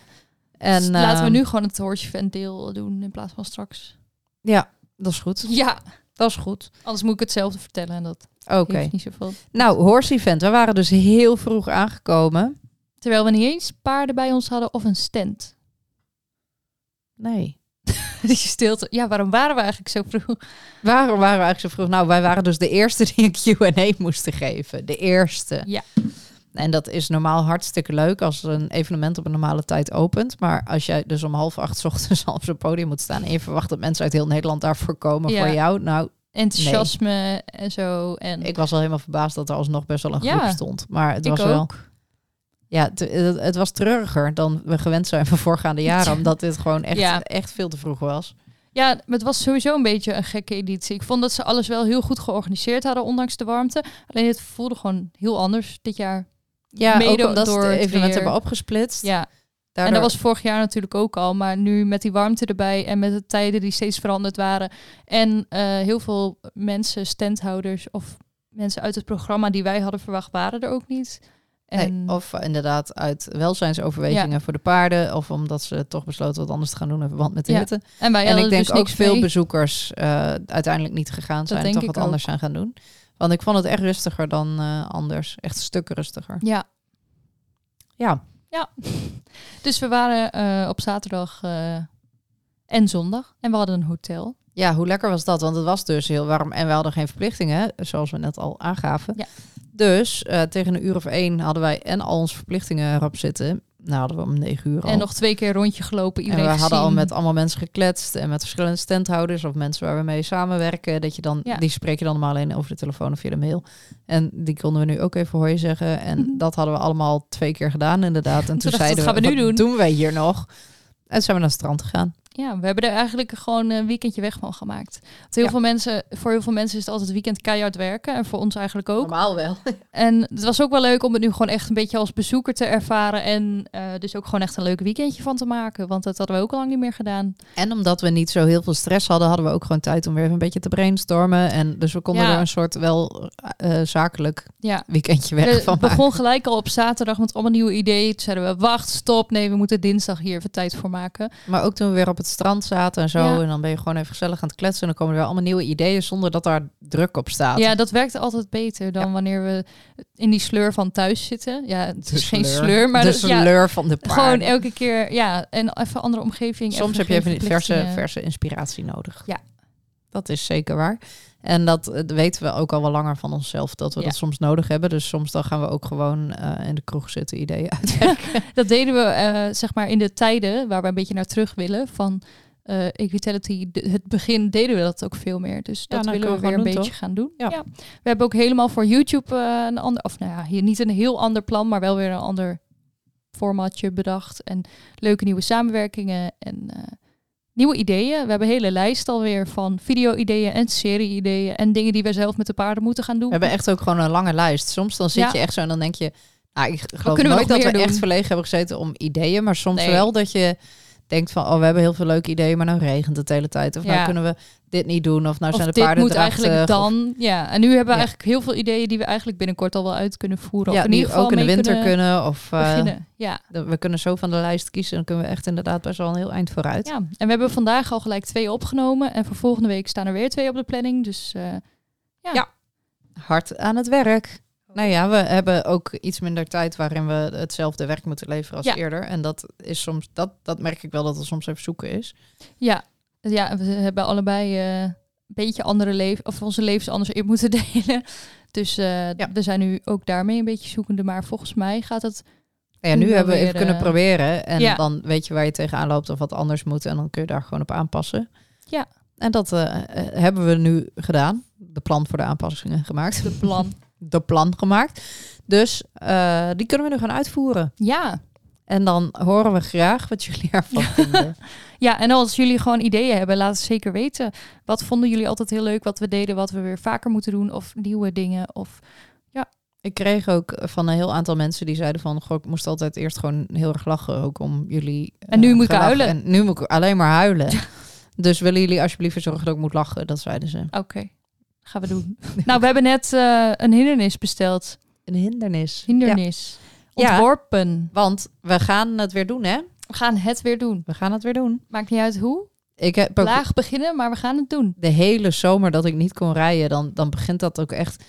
Speaker 3: En,
Speaker 4: dus laten we
Speaker 3: ehm,
Speaker 4: nu gewoon het Hoortje Fan deel doen in plaats van straks.
Speaker 3: Ja, dat is goed.
Speaker 4: Ja,
Speaker 3: Dat is goed.
Speaker 4: anders moet ik hetzelfde vertellen en dat
Speaker 3: Oké.
Speaker 4: heeft niet zoveel.
Speaker 3: Nou, horse event. We waren dus heel vroeg aangekomen.
Speaker 4: Terwijl we niet eens paarden bij ons hadden of een stand.
Speaker 3: Nee.
Speaker 4: Die stilte. Ja, waarom waren we eigenlijk zo vroeg?
Speaker 3: Waarom waren we eigenlijk zo vroeg? Nou, wij waren dus de eerste die een Q&A moesten geven. De eerste.
Speaker 4: Ja.
Speaker 3: En dat is normaal hartstikke leuk als een evenement op een normale tijd opent. Maar als jij dus om half acht 's ochtends al op zo'n podium moet staan... en je verwacht dat mensen uit heel Nederland daarvoor komen
Speaker 4: Ja.
Speaker 3: voor jou... Nou,
Speaker 4: Enthousiasme en zo. En
Speaker 3: ik was al helemaal verbaasd dat er alsnog best wel een groep
Speaker 4: Ja.
Speaker 3: stond. Maar het
Speaker 4: Ik
Speaker 3: was
Speaker 4: ook.
Speaker 3: wel... Ja, het, het- het was treuriger dan we gewend zijn van voorgaande jaren.
Speaker 4: Ja.
Speaker 3: Omdat dit gewoon echt,
Speaker 4: Ja.
Speaker 3: echt veel te vroeg was.
Speaker 4: Ja, maar het was sowieso een beetje een gekke editie. Ik vond dat ze alles wel heel goed georganiseerd hadden, ondanks de warmte. Alleen het voelde gewoon heel anders dit jaar.
Speaker 3: Ja,
Speaker 4: Mede
Speaker 3: ook omdat ze
Speaker 4: door
Speaker 3: de
Speaker 4: het
Speaker 3: evenementen
Speaker 4: weer.
Speaker 3: hebben opgesplitst.
Speaker 4: Ja, en
Speaker 3: Daardoor-
Speaker 4: dat was vorig jaar natuurlijk ook al. Maar nu met die warmte erbij en met de tijden die steeds veranderd waren. En eh, heel veel mensen, standhouders of mensen uit het programma die wij hadden verwacht, waren er ook niet. En
Speaker 3: Nee, of eh, inderdaad uit welzijnsoverwegingen voor de paarden. Of omdat ze toch besloten wat anders te gaan doen in verband met de
Speaker 4: Ja,
Speaker 3: hitte.
Speaker 4: En wij
Speaker 3: en
Speaker 4: hadden
Speaker 3: ik denk
Speaker 4: dus
Speaker 3: ook
Speaker 4: niks
Speaker 3: veel
Speaker 4: mee.
Speaker 3: bezoekers eh, uiteindelijk niet gegaan zijn. en
Speaker 4: denk
Speaker 3: toch
Speaker 4: ik
Speaker 3: wat anders zijn gaan doen. Want ik vond het echt rustiger dan eh, anders. Echt een stuk rustiger.
Speaker 4: Ja,
Speaker 3: Ja,
Speaker 4: dus we waren eh, op zaterdag eh, en zondag. En we hadden een hotel.
Speaker 3: ja, hoe lekker was dat? Want het was dus heel warm en we hadden geen verplichtingen. Zoals we net al aangaven.
Speaker 4: Ja.
Speaker 3: Dus eh, tegen een uur of één hadden wij en al onze verplichtingen erop zitten. Nou hadden we om negen uur al.
Speaker 4: En nog twee keer een rondje gelopen.
Speaker 3: En we
Speaker 4: Iedereen
Speaker 3: hadden al
Speaker 4: gezien.
Speaker 3: met allemaal mensen gekletst en met verschillende standhouders of mensen waar we mee samenwerken. Dat je dan,
Speaker 4: Ja.
Speaker 3: die spreek je dan normaal alleen over de telefoon of via de mail. En die konden we nu ook even hoor je zeggen. En
Speaker 4: Mhm.
Speaker 3: dat hadden we allemaal twee keer gedaan inderdaad. En toen
Speaker 4: dachten we,
Speaker 3: zeiden
Speaker 4: wat gaan we nu
Speaker 3: "Wat
Speaker 4: doen?"
Speaker 3: wij hier nog? En toen zijn we naar het strand gegaan.
Speaker 4: Ja, we hebben er eigenlijk gewoon een weekendje weg van gemaakt. Want heel
Speaker 3: Ja.
Speaker 4: veel mensen, voor heel veel mensen is het altijd weekend keihard werken. En voor ons eigenlijk ook.
Speaker 3: Normaal wel.
Speaker 4: En het was ook wel leuk om het nu gewoon echt een beetje als bezoeker te ervaren. En eh, dus ook gewoon echt een leuk weekendje van te maken. Want dat hadden we ook al lang niet meer gedaan.
Speaker 3: En omdat we niet zo heel veel stress hadden, hadden we ook gewoon tijd om weer even een beetje te brainstormen. En dus we konden
Speaker 4: Ja.
Speaker 3: er een soort wel eh, eh, zakelijk
Speaker 4: Ja.
Speaker 3: weekendje weg
Speaker 4: Het
Speaker 3: van maken.
Speaker 4: begon gelijk al op zaterdag met allemaal nieuwe ideeën. Toen zeiden we, wacht, stop. Nee, we moeten dinsdag hier even tijd voor maken.
Speaker 3: Maar ook toen we weer op het strand zaten en zo.
Speaker 4: Ja.
Speaker 3: En dan ben je gewoon even gezellig aan het kletsen. En dan komen er weer allemaal nieuwe ideeën zonder dat daar druk op staat.
Speaker 4: Ja, dat werkt altijd beter dan wanneer we in die sleur van thuis zitten. Ja, het is geen sleur, maar
Speaker 3: de
Speaker 4: dat- ja,
Speaker 3: sleur van de paarden.
Speaker 4: Gewoon elke keer, ja, en even een andere omgeving.
Speaker 3: Soms heb je
Speaker 4: geen
Speaker 3: even verse,
Speaker 4: verplichtingen.
Speaker 3: verse inspiratie nodig.
Speaker 4: Ja.
Speaker 3: Dat is zeker waar. En dat eh, weten we ook al wel langer van onszelf, dat we
Speaker 4: Ja.
Speaker 3: dat soms nodig hebben. Dus soms dan gaan we ook gewoon eh, in de kroeg zitten ideeën uit.
Speaker 4: Dat deden we, eh, zeg maar, in de tijden waar we een beetje naar terug willen van eh Equitality. De- het begin deden we dat ook veel meer. Dus dat
Speaker 3: nou,
Speaker 4: willen we
Speaker 3: kunnen we
Speaker 4: weer een
Speaker 3: gewoon doen,
Speaker 4: beetje
Speaker 3: toch?
Speaker 4: gaan doen.
Speaker 3: Ja.
Speaker 4: We hebben ook helemaal voor YouTube eh, een ander, of nou ja, hier niet een heel ander plan, maar wel weer een ander formatje bedacht. En leuke nieuwe samenwerkingen en eh, nieuwe ideeën. We hebben een hele lijst alweer van video-ideeën en serie-ideeën en dingen die wij zelf met de paarden moeten gaan doen.
Speaker 3: We hebben echt ook gewoon een lange lijst. Soms dan zit
Speaker 4: Ja.
Speaker 3: je echt zo en dan denk je... Nou, ik
Speaker 4: Wat
Speaker 3: geloof
Speaker 4: kunnen we
Speaker 3: nooit
Speaker 4: nog
Speaker 3: dat we
Speaker 4: meer doen?
Speaker 3: echt verlegen hebben gezeten om ideeën. Maar soms
Speaker 4: Nee.
Speaker 3: wel dat je denkt van... Oh, we hebben heel veel leuke ideeën, maar nou regent het de hele tijd. Of
Speaker 4: Ja.
Speaker 3: nou kunnen we dit niet doen. Of nou
Speaker 4: of
Speaker 3: zijn de
Speaker 4: dit
Speaker 3: paarden
Speaker 4: moet eigenlijk
Speaker 3: draagtig, of-
Speaker 4: dan. Ja, en nu hebben we
Speaker 3: Ja.
Speaker 4: eigenlijk heel veel ideeën die we eigenlijk binnenkort al wel uit kunnen voeren.
Speaker 3: ja,
Speaker 4: of in ieder
Speaker 3: die
Speaker 4: geval
Speaker 3: ook in de
Speaker 4: mee
Speaker 3: winter kunnen. of eh,
Speaker 4: beginnen. Ja.
Speaker 3: de- we kunnen zo van de lijst kiezen. Dan kunnen we echt inderdaad best wel een heel eind vooruit.
Speaker 4: ja, en we hebben vandaag al gelijk twee opgenomen. En voor volgende week staan er weer twee op de planning. Dus eh,
Speaker 3: Hard aan het werk. Nou ja, we hebben ook iets minder tijd waarin we hetzelfde werk moeten leveren als
Speaker 4: Ja.
Speaker 3: eerder. En dat is soms, dat, dat merk ik wel dat het soms even zoeken is.
Speaker 4: Ja, ja we hebben allebei eh, een beetje andere leven, of onze levens anders in moeten delen. Dus eh,
Speaker 3: Ja.
Speaker 4: we zijn nu ook daarmee een beetje zoekende. Maar volgens mij gaat het.
Speaker 3: Nou ja,
Speaker 4: Nu
Speaker 3: nu
Speaker 4: wel
Speaker 3: hebben we even
Speaker 4: weer,
Speaker 3: kunnen
Speaker 4: eh,
Speaker 3: proberen. En
Speaker 4: ja.
Speaker 3: dan weet je waar je tegenaan loopt of wat anders moet. En dan kun je daar gewoon op aanpassen.
Speaker 4: Ja.
Speaker 3: En dat eh, eh, hebben we nu gedaan. De plan voor de aanpassingen gemaakt.
Speaker 4: De plan.
Speaker 3: De plan gemaakt. Dus eh, die kunnen we nu gaan uitvoeren.
Speaker 4: ja.
Speaker 3: En dan horen we graag wat jullie ervan vinden.
Speaker 4: ja, en als jullie gewoon ideeën hebben, laat het zeker weten. Wat vonden jullie altijd heel leuk? Wat we deden, wat we weer vaker moeten doen? Of nieuwe dingen? Of
Speaker 3: Ik kreeg ook van een heel aantal mensen die zeiden van... Goh, ik moest altijd eerst gewoon heel erg lachen ook om jullie...
Speaker 4: En nu
Speaker 3: eh,
Speaker 4: moet ik
Speaker 3: gelach.
Speaker 4: huilen.
Speaker 3: En nu moet ik alleen maar huilen. dus willen jullie alsjeblieft zorgen dat ik moet lachen? Dat zeiden ze.
Speaker 4: oké, gaan we doen. nou, we hebben net eh, een hindernis besteld.
Speaker 3: Een hindernis. Ja,
Speaker 4: Hindernis.
Speaker 3: Ja.
Speaker 4: Ontworpen.
Speaker 3: want we gaan het weer doen, hè?
Speaker 4: We gaan het weer doen.
Speaker 3: We gaan het weer doen.
Speaker 4: Maakt niet uit hoe.
Speaker 3: Ik heb ook
Speaker 4: Laag beginnen, maar we gaan het doen.
Speaker 3: de hele zomer dat ik niet kon rijden... Dan, dan begint dat ook echt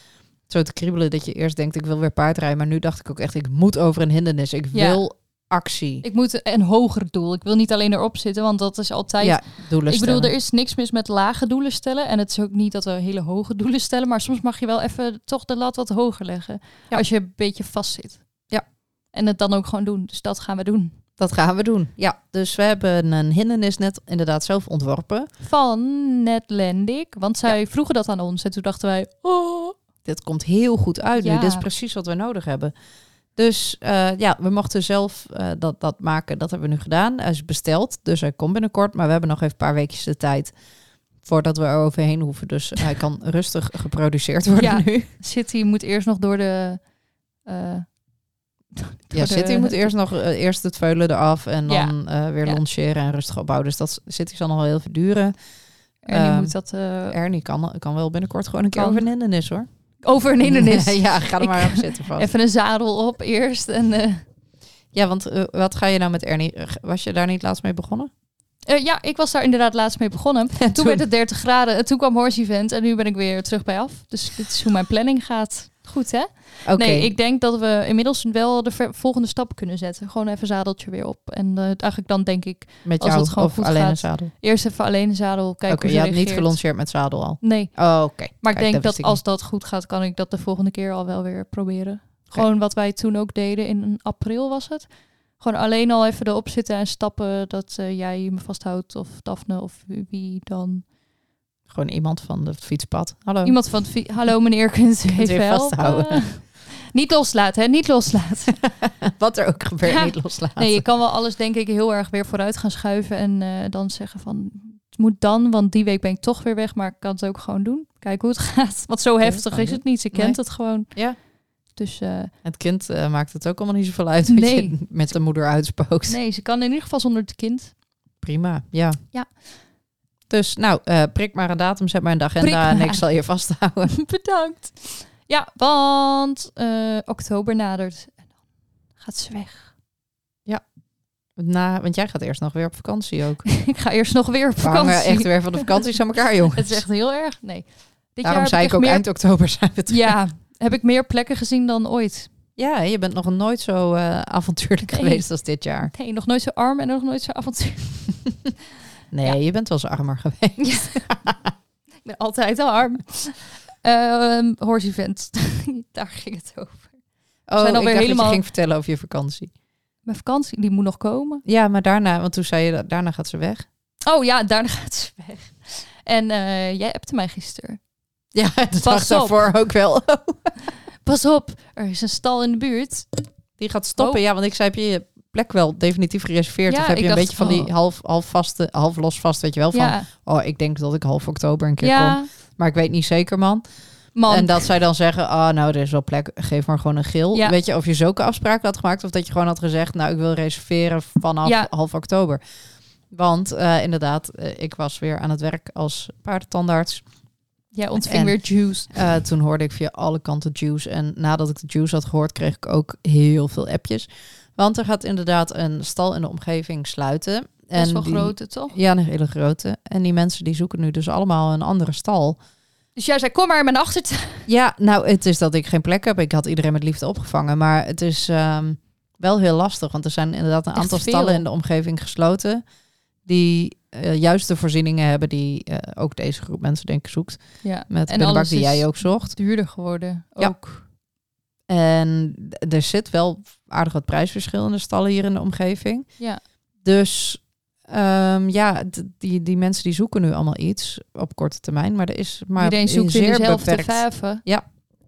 Speaker 3: zo te kriebelen dat je eerst denkt... ik wil weer paardrijden. Maar nu dacht ik ook echt, ik moet over een hindernis. Ik
Speaker 4: Ja.
Speaker 3: wil actie.
Speaker 4: Ik moet een hoger doel. Ik wil niet alleen erop zitten, want dat is altijd.
Speaker 3: ja, doelen
Speaker 4: ik bedoel,
Speaker 3: stellen.
Speaker 4: er is niks mis met lage doelen stellen. En het is ook niet dat we hele hoge doelen stellen. Maar soms mag je wel even toch de lat wat hoger leggen.
Speaker 3: Ja.
Speaker 4: Als je een beetje vast zit.
Speaker 3: Ja.
Speaker 4: En het dan ook gewoon doen. Dus dat gaan we doen.
Speaker 3: Dat gaan we doen. Ja, dus we hebben een hindernis net inderdaad zelf ontworpen.
Speaker 4: Van Netlandic. Want zij vroegen dat aan ons. En toen dachten wij, oh.
Speaker 3: Dit komt heel goed uit
Speaker 4: Ja.
Speaker 3: nu. Dit is precies wat we nodig hebben. Dus eh, ja, we mochten zelf eh, dat, dat maken. Dat hebben we nu gedaan. Hij is besteld, dus hij komt binnenkort. Maar we hebben nog even een paar weekjes de tijd voordat we er overheen hoeven. Dus hij kan rustig geproduceerd worden
Speaker 4: Ja.
Speaker 3: nu.
Speaker 4: City moet eerst nog door de... eh,
Speaker 3: Ja,
Speaker 4: de-
Speaker 3: City Dus moet eerst nog eh, eerst het veulen eraf en
Speaker 4: Ja.
Speaker 3: dan eh, weer
Speaker 4: Ja.
Speaker 3: lanceren en rustig opbouwen. Dus dat City zal nog wel heel veel duren.
Speaker 4: Ernie
Speaker 3: ehm,
Speaker 4: moet dat eh,
Speaker 3: Ernie kan, kan wel binnenkort gewoon een keer
Speaker 4: Kan.
Speaker 3: over een hindernis hoor.
Speaker 4: over een hindernis.
Speaker 3: ja, ga er
Speaker 4: Ik-
Speaker 3: maar op zitten vast.
Speaker 4: Even een zadel op eerst. En, eh,
Speaker 3: Ja, want eh, wat ga je nou met Ernie? Eh, Was je daar niet laatst mee begonnen?
Speaker 4: Eh, ja, ik was daar inderdaad laatst mee begonnen. Toen,
Speaker 3: toen-
Speaker 4: werd het 30 graden, en toen kwam Horse Event en nu ben ik weer terug bij af. Dus dit is hoe mijn planning gaat. Goed hè?
Speaker 3: Oké.
Speaker 4: Nee, ik denk dat we inmiddels wel de ver- volgende stap kunnen zetten. Gewoon even zadeltje weer op. En eh, eigenlijk dan denk ik
Speaker 3: met
Speaker 4: als
Speaker 3: jou
Speaker 4: het gewoon
Speaker 3: of
Speaker 4: goed
Speaker 3: alleen
Speaker 4: gaat,
Speaker 3: een zadel?
Speaker 4: eerst even alleen een zadel
Speaker 3: Oké,
Speaker 4: kijken hoe
Speaker 3: je
Speaker 4: ze
Speaker 3: had niet
Speaker 4: reageert.
Speaker 3: gelonceerd met zadel al.
Speaker 4: Nee,
Speaker 3: Oh, oké.
Speaker 4: maar
Speaker 3: Kijk,
Speaker 4: ik denk
Speaker 3: wist
Speaker 4: dat als dat goed gaat, kan ik dat de volgende keer al wel weer proberen. Gewoon wat wij toen ook deden in april was het. Gewoon alleen al even erop zitten en stappen dat eh, jij me vasthoudt of Daphne of wie- wie dan.
Speaker 3: niet. Gewoon iemand van het fietspad. Hallo.
Speaker 4: Iemand van het vi- Hallo meneer, kunt u
Speaker 3: Kunt u
Speaker 4: even
Speaker 3: Oh. vasthouden?
Speaker 4: helpen? Niet loslaten, hè? Niet loslaten.
Speaker 3: Wat er ook gebeurt,
Speaker 4: Ja.
Speaker 3: niet loslaten.
Speaker 4: Nee, je kan wel alles denk ik heel erg weer vooruit gaan schuiven en eh, dan zeggen van... Het moet dan, want die week ben ik toch weer weg, maar ik kan het ook gewoon doen. Kijken hoe het gaat. Want zo
Speaker 3: Oké,
Speaker 4: heftig
Speaker 3: kan
Speaker 4: is
Speaker 3: je.
Speaker 4: het niet. Ze
Speaker 3: Nee.
Speaker 4: kent het gewoon.
Speaker 3: Ja.
Speaker 4: Dus eh,
Speaker 3: Het kind eh, maakt het ook allemaal niet zoveel uit wat
Speaker 4: Nee.
Speaker 3: je met de moeder uitspookt.
Speaker 4: nee, ze kan in ieder geval zonder het kind.
Speaker 3: Prima, ja.
Speaker 4: Ja.
Speaker 3: Dus nou, eh, prik maar een datum, zet maar een
Speaker 4: Prik
Speaker 3: agenda
Speaker 4: maar.
Speaker 3: en ik zal je vasthouden.
Speaker 4: Bedankt. Ja, want eh, oktober nadert. En dan gaat ze weg.
Speaker 3: Na, want jij gaat eerst nog weer op vakantie ook.
Speaker 4: ik ga eerst nog weer op
Speaker 3: We hangen echt
Speaker 4: vakantie.
Speaker 3: weer van de vakanties aan elkaar, jongens.
Speaker 4: Het is echt heel erg. Nee. Dit
Speaker 3: Daarom
Speaker 4: jaar
Speaker 3: zei
Speaker 4: heb
Speaker 3: ik ook
Speaker 4: echt meer
Speaker 3: eind oktober zijn we terug.
Speaker 4: Ja, heb ik meer plekken gezien dan ooit.
Speaker 3: Ja, je bent nog nooit zo eh, avontuurlijk
Speaker 4: Nee.
Speaker 3: geweest als dit jaar.
Speaker 4: Nee, nog nooit zo arm en nog nooit zo avontuurlijk.
Speaker 3: Nee,
Speaker 4: Ja.
Speaker 3: je bent wel eens armer geweest.
Speaker 4: Ik ben altijd al arm. Ehm horse event. Daar ging het over.
Speaker 3: Oh, ik
Speaker 4: zijn alweer
Speaker 3: dacht dat
Speaker 4: helemaal-
Speaker 3: je ging vertellen over je vakantie.
Speaker 4: Mijn vakantie, die moet nog komen.
Speaker 3: Ja, maar daarna, want toen zei je dat daarna gaat ze weg.
Speaker 4: Oh ja, daarna gaat ze weg. En eh, jij appte mij gisteren.
Speaker 3: Ja, dat
Speaker 4: Pas
Speaker 3: was
Speaker 4: op.
Speaker 3: daarvoor ook wel.
Speaker 4: Pas op, er is een stal in de buurt.
Speaker 3: Die gaat stoppen. Ja, want ik zei, heb je je plek wel definitief gereserveerd?
Speaker 4: Ja,
Speaker 3: of heb
Speaker 4: ik
Speaker 3: je een
Speaker 4: dacht,
Speaker 3: beetje van die
Speaker 4: oh.
Speaker 3: half, half vaste, half los vast, weet je wel? Van,
Speaker 4: ja,
Speaker 3: oh, ik denk dat ik half oktober een keer kom.
Speaker 4: ja.
Speaker 3: Maar ik weet niet zeker, man.
Speaker 4: man.
Speaker 3: En dat zij dan zeggen, ah, nou, er is wel plek, geef maar gewoon een gil.
Speaker 4: Ja.
Speaker 3: Weet je, of je zulke afspraken had gemaakt... of dat je gewoon had gezegd, nou, ik wil reserveren vanaf
Speaker 4: Ja.
Speaker 3: half oktober. Want eh, inderdaad, eh, ik was weer aan het werk als paardentandarts.
Speaker 4: jij ontving
Speaker 3: en-
Speaker 4: weer juice.
Speaker 3: Eh, toen hoorde ik via alle kanten juice. En nadat ik de juice had gehoord, kreeg ik ook heel veel appjes. Want er gaat inderdaad een stal in de omgeving sluiten.
Speaker 4: Best wel
Speaker 3: die-
Speaker 4: grote, toch?
Speaker 3: Ja, een hele grote. En die mensen die zoeken nu dus allemaal een andere stal.
Speaker 4: Dus jij zei, kom maar in mijn achtertuin.
Speaker 3: Ja, nou, het is dat ik geen plek heb. Ik had iedereen met liefde opgevangen. Maar het is ehm, wel heel lastig. Want er zijn inderdaad een
Speaker 4: Echt
Speaker 3: aantal
Speaker 4: veel.
Speaker 3: stallen in de omgeving gesloten. Die eh, juist de voorzieningen hebben die eh, ook deze groep mensen denk ik zoekt.
Speaker 4: Ja,
Speaker 3: Met
Speaker 4: En
Speaker 3: de bak
Speaker 4: alles
Speaker 3: die
Speaker 4: is-
Speaker 3: jij ook zocht.
Speaker 4: duurder geworden.
Speaker 3: Ja.
Speaker 4: Ook.
Speaker 3: En d- er zit wel aardig wat prijsverschil in de stallen hier in de omgeving.
Speaker 4: Ja.
Speaker 3: Dus ehm, ja, d- die, die mensen die zoeken nu allemaal iets op korte termijn. Maar er is maar
Speaker 4: Iedereen zoekt in
Speaker 3: zeer
Speaker 4: dezelfde
Speaker 3: beperkt.
Speaker 4: vijven.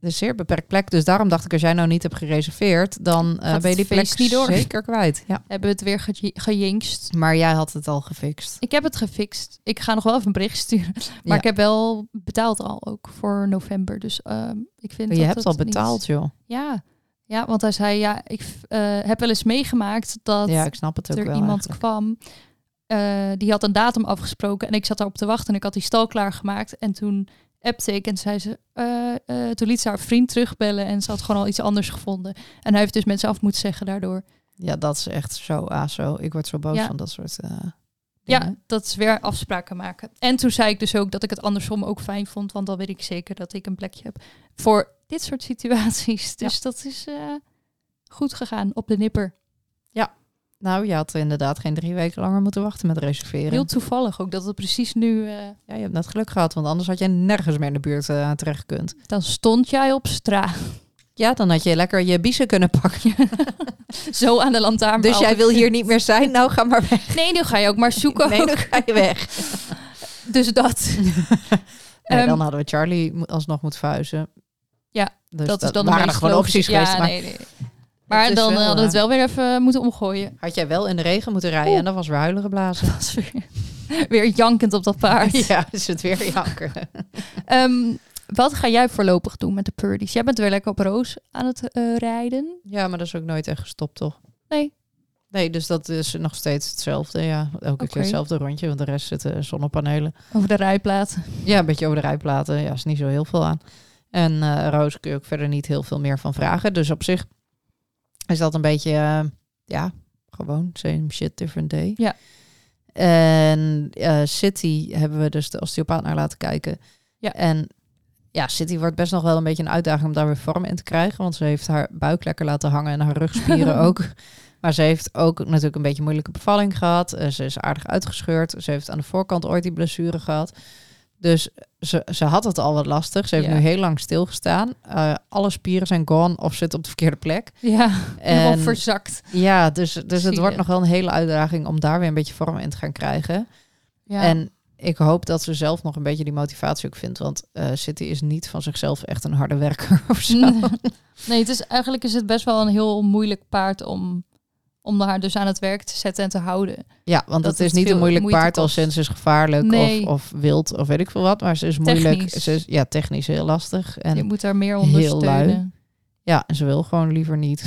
Speaker 3: een zeer beperkt plek. Dus daarom dacht ik, als jij nou niet hebt gereserveerd, dan eh,
Speaker 4: Gaat
Speaker 3: ben je die
Speaker 4: het
Speaker 3: plek
Speaker 4: feest niet door.
Speaker 3: zeker kwijt. Ja.
Speaker 4: Hebben we het weer ge- gejinkst.
Speaker 3: Maar jij had het al gefixt.
Speaker 4: Ik heb het gefixt. Ik ga nog wel even een bericht sturen. Maar
Speaker 3: Ja.
Speaker 4: ik heb wel betaald al ook voor november. Dus ehm, ik vind
Speaker 3: je
Speaker 4: dat
Speaker 3: hebt
Speaker 4: het
Speaker 3: al
Speaker 4: niet-
Speaker 3: betaald, joh.
Speaker 4: Ja. ja, want hij zei, ja, ik eh, heb wel eens meegemaakt dat
Speaker 3: ja, ik snap het ook
Speaker 4: er
Speaker 3: wel.
Speaker 4: iemand
Speaker 3: eigenlijk.
Speaker 4: kwam. eh, die had een datum afgesproken en ik zat daarop te wachten en ik had die stal klaargemaakt. En toen appte ik en zei ze, eh, eh, toen liet ze haar vriend terugbellen en ze had gewoon al iets anders gevonden. En hij heeft dus mensen af moeten zeggen daardoor.
Speaker 3: Ja, dat is echt zo aso. Ik word zo boos
Speaker 4: Ja.
Speaker 3: van dat soort eh,
Speaker 4: Ja,
Speaker 3: dingen.
Speaker 4: dat is weer afspraken maken. En toen zei ik dus ook dat ik het andersom ook fijn vond, want dan weet ik zeker dat ik een plekje heb voor dit soort situaties. Dus dat is eh, goed gegaan op de nipper.
Speaker 3: Nou, je had inderdaad geen drie weken langer moeten wachten met reserveren.
Speaker 4: Heel toevallig ook dat het precies nu, eh,
Speaker 3: Ja, je hebt net geluk gehad, want anders had jij nergens meer in de buurt eh, terecht kunt.
Speaker 4: dan stond jij op straat.
Speaker 3: Ja, dan had je lekker je biezen kunnen pakken.
Speaker 4: Zo aan de lantaarn.
Speaker 3: dus jij wil hier niet meer zijn? Nou, ga maar weg.
Speaker 4: Nee, nu ga je ook maar zoeken.
Speaker 3: Nee,
Speaker 4: ook.
Speaker 3: dan ga je weg.
Speaker 4: Dus dat.
Speaker 3: Nee,
Speaker 4: Ehm,
Speaker 3: dan hadden we Charlie mo- alsnog moeten verhuizen.
Speaker 4: Ja,
Speaker 3: dus
Speaker 4: dat is dan de
Speaker 3: waren er
Speaker 4: meest
Speaker 3: gewoon
Speaker 4: logische-
Speaker 3: opties geweest.
Speaker 4: Ja,
Speaker 3: maar
Speaker 4: nee, nee. Maar
Speaker 3: is
Speaker 4: dan
Speaker 3: wel,
Speaker 4: hadden we het
Speaker 3: eh,
Speaker 4: wel weer even moeten omgooien.
Speaker 3: Had jij wel in de regen moeten rijden en dan was weer huilen geblazen.
Speaker 4: Dat was weer, weer jankend op dat paard.
Speaker 3: ja, is het weer janken.
Speaker 4: Ehm, wat ga jij voorlopig doen met de Purdies? Jij bent weer lekker op roos aan het eh, rijden.
Speaker 3: ja, maar dat is ook nooit echt gestopt, toch?
Speaker 4: Nee.
Speaker 3: Nee, dus dat is nog steeds hetzelfde. Ja, elke
Speaker 4: Oké.
Speaker 3: keer hetzelfde rondje, want de rest zitten zonnepanelen.
Speaker 4: Over de rijplaat.
Speaker 3: Ja, een beetje over de rijplaten. Ja, is niet zo heel veel aan. En eh, Roos kun je ook verder niet heel veel meer van vragen. Dus op zich is dat een beetje, eh, ja, gewoon same shit, different day.
Speaker 4: Ja.
Speaker 3: En eh, City hebben we dus de osteopaat naar laten kijken.
Speaker 4: Ja.
Speaker 3: En ja, City wordt best nog wel een beetje een uitdaging om daar weer vorm in te krijgen. Want ze heeft haar buik lekker laten hangen en haar rugspieren ook. Maar ze heeft ook natuurlijk een beetje moeilijke bevalling gehad. Eh, ze is aardig uitgescheurd. Ze heeft aan de voorkant ooit die blessure gehad. Dus ze, ze had het al wat lastig. Ze heeft
Speaker 4: Ja.
Speaker 3: nu heel lang stilgestaan. Eh, alle spieren zijn gone of zitten op de verkeerde plek.
Speaker 4: Ja, helemaal
Speaker 3: En
Speaker 4: verzakt.
Speaker 3: ja, dus, dus het
Speaker 4: Zielig.
Speaker 3: wordt nog wel een hele uitdaging om daar weer een beetje vorm in te gaan krijgen.
Speaker 4: Ja.
Speaker 3: En ik hoop dat ze zelf nog een beetje die motivatie ook vindt. Want eh, City is niet van zichzelf echt een harde werker of zo.
Speaker 4: Mm. nee, het is, eigenlijk is het best wel een heel moeilijk paard om, om haar dus aan het werk te zetten en te houden.
Speaker 3: Ja, want
Speaker 4: Dat
Speaker 3: het is
Speaker 4: het
Speaker 3: niet
Speaker 4: veel
Speaker 3: een moeilijk
Speaker 4: moeite
Speaker 3: paard al
Speaker 4: kost.
Speaker 3: sinds is gevaarlijk
Speaker 4: Nee.
Speaker 3: of, of wild of weet ik veel wat. Maar ze is moeilijk.
Speaker 4: Technisch.
Speaker 3: Ze is, ja, technisch heel lastig. En
Speaker 4: Je moet haar meer
Speaker 3: heel lui.
Speaker 4: ondersteunen.
Speaker 3: ja, en ze wil gewoon liever niet.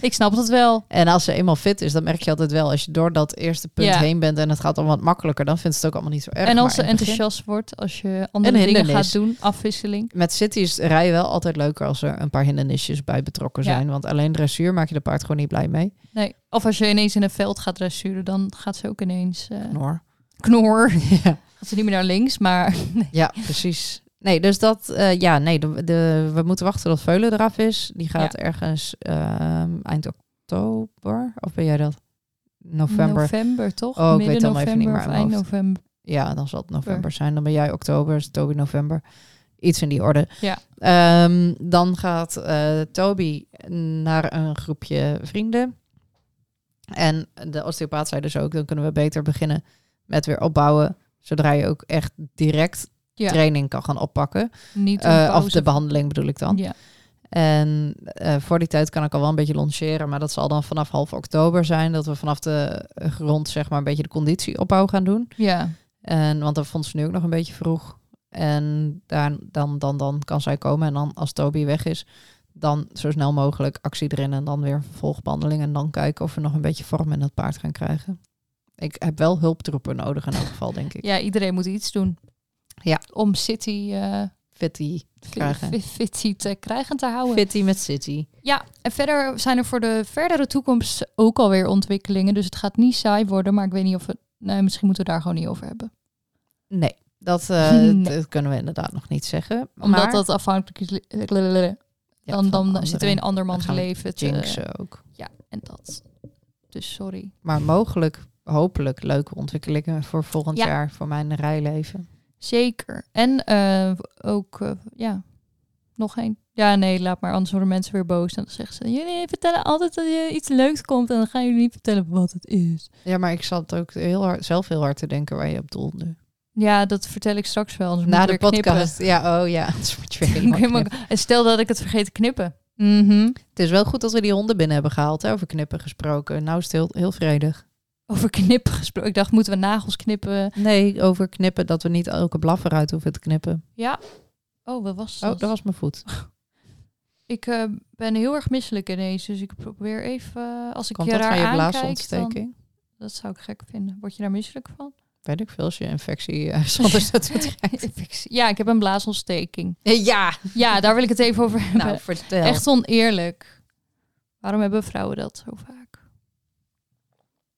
Speaker 4: Ik snap dat wel.
Speaker 3: En als ze eenmaal fit is, dan merk je altijd wel. Als je door dat eerste punt
Speaker 4: Ja.
Speaker 3: heen bent en het gaat dan wat makkelijker, dan vindt ze het ook allemaal niet zo erg.
Speaker 4: en als
Speaker 3: Maar
Speaker 4: ze
Speaker 3: in het begin-
Speaker 4: enthousiast wordt, als je andere
Speaker 3: Een
Speaker 4: dingen
Speaker 3: hindernis.
Speaker 4: gaat doen, afwisseling.
Speaker 3: Met City is rijden wel altijd leuker als er een paar hindernisjes bij betrokken
Speaker 4: Ja.
Speaker 3: zijn. Want alleen dressuur maak je de paard gewoon niet blij mee.
Speaker 4: Nee. Of als je ineens in een veld gaat dressuren, dan gaat ze ook ineens eh
Speaker 3: Knor.
Speaker 4: knor.
Speaker 3: Ja.
Speaker 4: Gaat ze niet meer naar links, maar
Speaker 3: Ja, precies. Nee, dus dat, eh, ja, nee, de, de- we moeten wachten tot Veulen eraf is. Die gaat ergens ehm, eind oktober. Of ben jij dat? November.
Speaker 4: toch?
Speaker 3: Oh, ik weet
Speaker 4: Midden
Speaker 3: het allemaal
Speaker 4: november
Speaker 3: even niet meer
Speaker 4: of
Speaker 3: uit
Speaker 4: eind
Speaker 3: mijn hoofd.
Speaker 4: november.
Speaker 3: Ja, dan zal het november zijn. Dan ben jij oktober, is Toby november. Iets in die orde.
Speaker 4: Ja.
Speaker 3: Ehm, dan gaat eh, Toby naar een groepje vrienden. En de osteopaat zei dus ook, dan kunnen we beter beginnen met weer opbouwen. Zodra je ook echt direct
Speaker 4: Ja.
Speaker 3: training kan gaan oppakken.
Speaker 4: Niet
Speaker 3: Eh, of
Speaker 4: een pauze.
Speaker 3: de behandeling bedoel ik dan.
Speaker 4: Ja.
Speaker 3: En eh, voor die tijd kan ik al wel een beetje lanceren, maar dat zal dan vanaf half oktober zijn dat we vanaf de grond zeg maar een beetje de conditieopbouw gaan doen.
Speaker 4: ja.
Speaker 3: En want dat vond ze nu ook nog een beetje vroeg. En daar, dan, dan, dan kan zij komen en dan als Toby weg is, dan zo snel mogelijk actie erin en dan weer vervolgbehandeling en dan kijken of we nog een beetje vorm in dat paard gaan krijgen. Ik heb wel hulptroepen nodig in elk geval, denk ik.
Speaker 4: ja, iedereen moet iets doen.
Speaker 3: Ja.
Speaker 4: Om City, eh
Speaker 3: Fitty, Krijgen.
Speaker 4: fi- fi- Fitty te krijgen en te houden.
Speaker 3: Fitty met City.
Speaker 4: Ja, en verder zijn er voor de verdere toekomst ook alweer ontwikkelingen. Dus het gaat niet saai worden, maar ik weet niet of we... Nee, misschien moeten we daar gewoon niet over hebben.
Speaker 3: Nee, Dat, eh,
Speaker 4: Nee.
Speaker 3: dat kunnen we inderdaad nog niet zeggen.
Speaker 4: Omdat
Speaker 3: maar,
Speaker 4: dat afhankelijk is.
Speaker 3: ja,
Speaker 4: Dan,
Speaker 3: van
Speaker 4: dan
Speaker 3: anderen.
Speaker 4: zitten we in
Speaker 3: Dan
Speaker 4: andermans
Speaker 3: gaan we
Speaker 4: leven. te-
Speaker 3: Jinxen ook.
Speaker 4: ja, en dat. Dus sorry.
Speaker 3: Maar mogelijk, hopelijk leuke ontwikkelingen voor volgend
Speaker 4: Ja.
Speaker 3: jaar, voor mijn rijleven.
Speaker 4: Zeker. En eh, ook, eh, ja, nog één. Ja, nee, laat maar. Anders worden mensen weer boos. En dan zeggen ze, jullie vertellen altijd dat je iets leuks komt. En dan gaan jullie niet vertellen wat het is.
Speaker 3: Ja, maar ik zat ook heel hard, zelf heel hard te denken waar je op doelde.
Speaker 4: Ja, dat vertel ik straks wel. Anders
Speaker 3: Na
Speaker 4: moet
Speaker 3: de
Speaker 4: ik weer knippen.
Speaker 3: podcast. Ja, oh ja. anders moet je weer
Speaker 4: Moet ik
Speaker 3: helemaal
Speaker 4: helemaal-
Speaker 3: knippen.
Speaker 4: En stel dat ik het vergeet te knippen. Mhm.
Speaker 3: Het is wel goed dat we die honden binnen hebben gehaald, hè, over knippen gesproken. Nou is het heel, heel vredig.
Speaker 4: Over knippen gesproken. Ik dacht, moeten we nagels knippen?
Speaker 3: Nee, over knippen, dat we niet elke blaffer uit hoeven te knippen.
Speaker 4: Ja. Oh, wat was
Speaker 3: Oh,
Speaker 4: dat?
Speaker 3: dat was mijn voet.
Speaker 4: Ik eh, ben heel erg misselijk ineens. Dus ik probeer even... eh, als ik
Speaker 3: Komt
Speaker 4: je
Speaker 3: dat
Speaker 4: raar
Speaker 3: van je
Speaker 4: aankijk, dan-
Speaker 3: blaasontsteking?
Speaker 4: dat zou ik gek vinden. Word je daar misselijk van?
Speaker 3: Weet ik veel, als je infectie eh, ergens anders dat soort
Speaker 4: Infectie. Ja, ik heb een blaasontsteking.
Speaker 3: Ja,
Speaker 4: Ja, daar wil ik het even over hebben.
Speaker 3: nou vertel.
Speaker 4: Echt oneerlijk. Waarom hebben vrouwen dat zo vaak?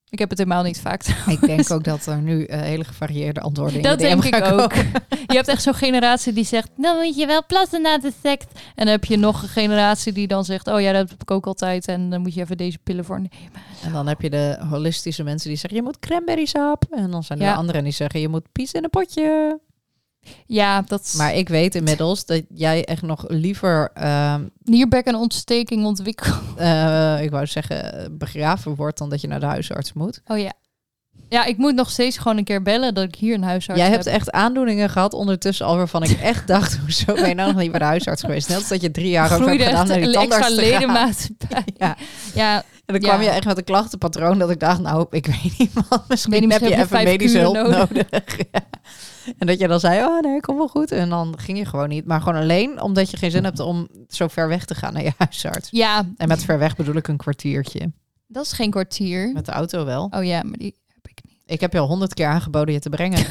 Speaker 4: Ik heb het helemaal niet vaak.
Speaker 3: Ik denk ook dat er nu eh, hele gevarieerde antwoorden in
Speaker 4: Dat
Speaker 3: de E DM
Speaker 4: denk ik
Speaker 3: gaan
Speaker 4: ook.
Speaker 3: komen.
Speaker 4: Je hebt echt zo'n generatie die zegt, nou moet je wel plassen na de seks. En dan heb je nog een generatie die dan zegt, oh ja, dat heb ik ook altijd. En dan moet je even deze pillen voor nemen.
Speaker 3: En dan heb je de holistische mensen die zeggen, je moet cranberrysap. En dan zijn er
Speaker 4: Ja.
Speaker 3: de anderen die zeggen, je moet pies in een potje.
Speaker 4: Ja, dat is
Speaker 3: Maar ik weet inmiddels dat jij echt nog liever, ehm,
Speaker 4: nierbekken en ontsteking ontwikkeld.
Speaker 3: eh, ik wou zeggen, begraven wordt dan dat je naar de huisarts moet.
Speaker 4: Oh ja. Ja, ik moet nog steeds gewoon een keer bellen dat ik hier een huisarts
Speaker 3: jij
Speaker 4: heb.
Speaker 3: hebt echt aandoeningen gehad ondertussen al waarvan ik echt dacht, hoezo ben je nou nog niet bij de huisarts geweest? Net als dat je drie jaar over hebt
Speaker 4: Groeide
Speaker 3: gedaan
Speaker 4: echt
Speaker 3: naar die
Speaker 4: een extra
Speaker 3: tandarts te gaan.
Speaker 4: ledemaat bij.
Speaker 3: Ja.
Speaker 4: ja,
Speaker 3: En dan
Speaker 4: Ja.
Speaker 3: kwam je echt met een klachtenpatroon dat ik dacht, nou, ik weet niet man, misschien, heb
Speaker 4: niet,
Speaker 3: je
Speaker 4: misschien heb je
Speaker 3: even
Speaker 4: vijf
Speaker 3: medische hulp
Speaker 4: kuren
Speaker 3: nodig. Ja. En dat je dan zei, oh nee, kom wel goed. En dan ging je gewoon niet. Maar gewoon alleen omdat je geen zin hebt om zo ver weg te gaan naar je huisarts.
Speaker 4: ja,
Speaker 3: En met ver weg bedoel ik een kwartiertje.
Speaker 4: dat is geen kwartier.
Speaker 3: Met de auto wel.
Speaker 4: Oh ja, maar die heb ik niet.
Speaker 3: Ik heb je al honderd keer aangeboden je te brengen.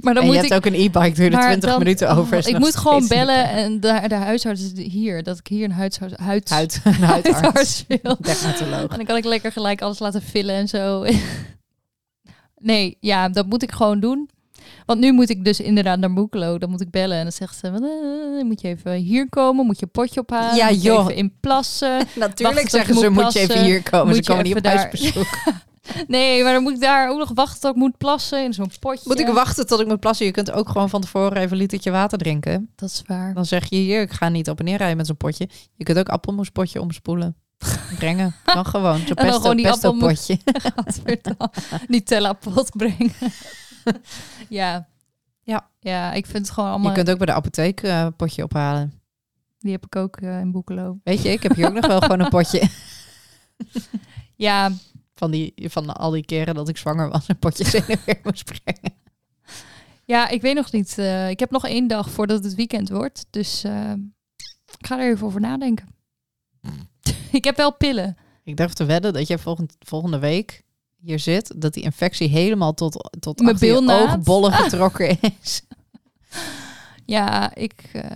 Speaker 4: Maar
Speaker 3: en
Speaker 4: dan
Speaker 3: je
Speaker 4: moet
Speaker 3: hebt
Speaker 4: ik...
Speaker 3: ook een e-bike, duurde
Speaker 4: maar
Speaker 3: 20
Speaker 4: dan-
Speaker 3: minuten over. dus is
Speaker 4: ik
Speaker 3: nog
Speaker 4: moet gewoon
Speaker 3: steeds niet
Speaker 4: bellen
Speaker 3: weg.
Speaker 4: en de, de huisarts is hier. Dat ik hier een huisarts, huids,
Speaker 3: Huid, een huidarts.
Speaker 4: huisarts wil.
Speaker 3: Dermatoloog.
Speaker 4: En dan kan ik lekker gelijk alles laten vullen en zo. nee, ja, dat moet ik gewoon doen. Want nu moet ik dus inderdaad naar Boekelo. Dan moet ik bellen en dan zegt ze... "Eh, moet je even hier komen? Moet je een potje ophalen?
Speaker 3: Ja,
Speaker 4: moet je
Speaker 3: joh.
Speaker 4: even in plassen?
Speaker 3: Natuurlijk
Speaker 4: Wacht tot
Speaker 3: zeggen
Speaker 4: je
Speaker 3: ze,
Speaker 4: moet
Speaker 3: moet je even
Speaker 4: plassen,
Speaker 3: hier komen.
Speaker 4: moet
Speaker 3: Ze
Speaker 4: je
Speaker 3: komen niet op
Speaker 4: even daar-
Speaker 3: huisbezoek.
Speaker 4: Nee, maar dan moet ik daar ook nog wachten tot ik moet plassen in zo'n potje.
Speaker 3: Moet ik wachten tot ik moet plassen? Je kunt ook gewoon van tevoren even een litertje water drinken.
Speaker 4: Dat is waar.
Speaker 3: Dan zeg je hier, ik ga niet op en neer rijden met zo'n potje. Je kunt ook appelmoespotje omspoelen. Brengen. Dan gewoon. Zo'n
Speaker 4: dan
Speaker 3: pesto,
Speaker 4: gewoon die
Speaker 3: pesto
Speaker 4: appelmoes- Oh
Speaker 3: potje.
Speaker 4: Gadverdamme. Nutella pot brengen. ja.
Speaker 3: Ja.
Speaker 4: Ja, ik vind het gewoon
Speaker 3: Je
Speaker 4: allemaal...
Speaker 3: kunt ook bij de apotheek eh, een potje ophalen.
Speaker 4: Die heb ik ook eh, in Boekelo.
Speaker 3: Weet je, ik heb hier ook nog wel gewoon een potje.
Speaker 4: Ja,
Speaker 3: Van, die, van al die keren dat ik zwanger was, een potje heen en weer moest brengen.
Speaker 4: ja, ik weet nog niet. eh, ik heb nog één dag voordat het weekend wordt. Dus eh, ik ga er even over nadenken. ik heb wel pillen.
Speaker 3: Ik durf te wedden dat jij volgend, volgende week hier zit. Dat die infectie helemaal tot, tot
Speaker 4: Mijn
Speaker 3: achter je
Speaker 4: bilnaad.
Speaker 3: oogbollen getrokken is.
Speaker 4: Ja, ik... eh,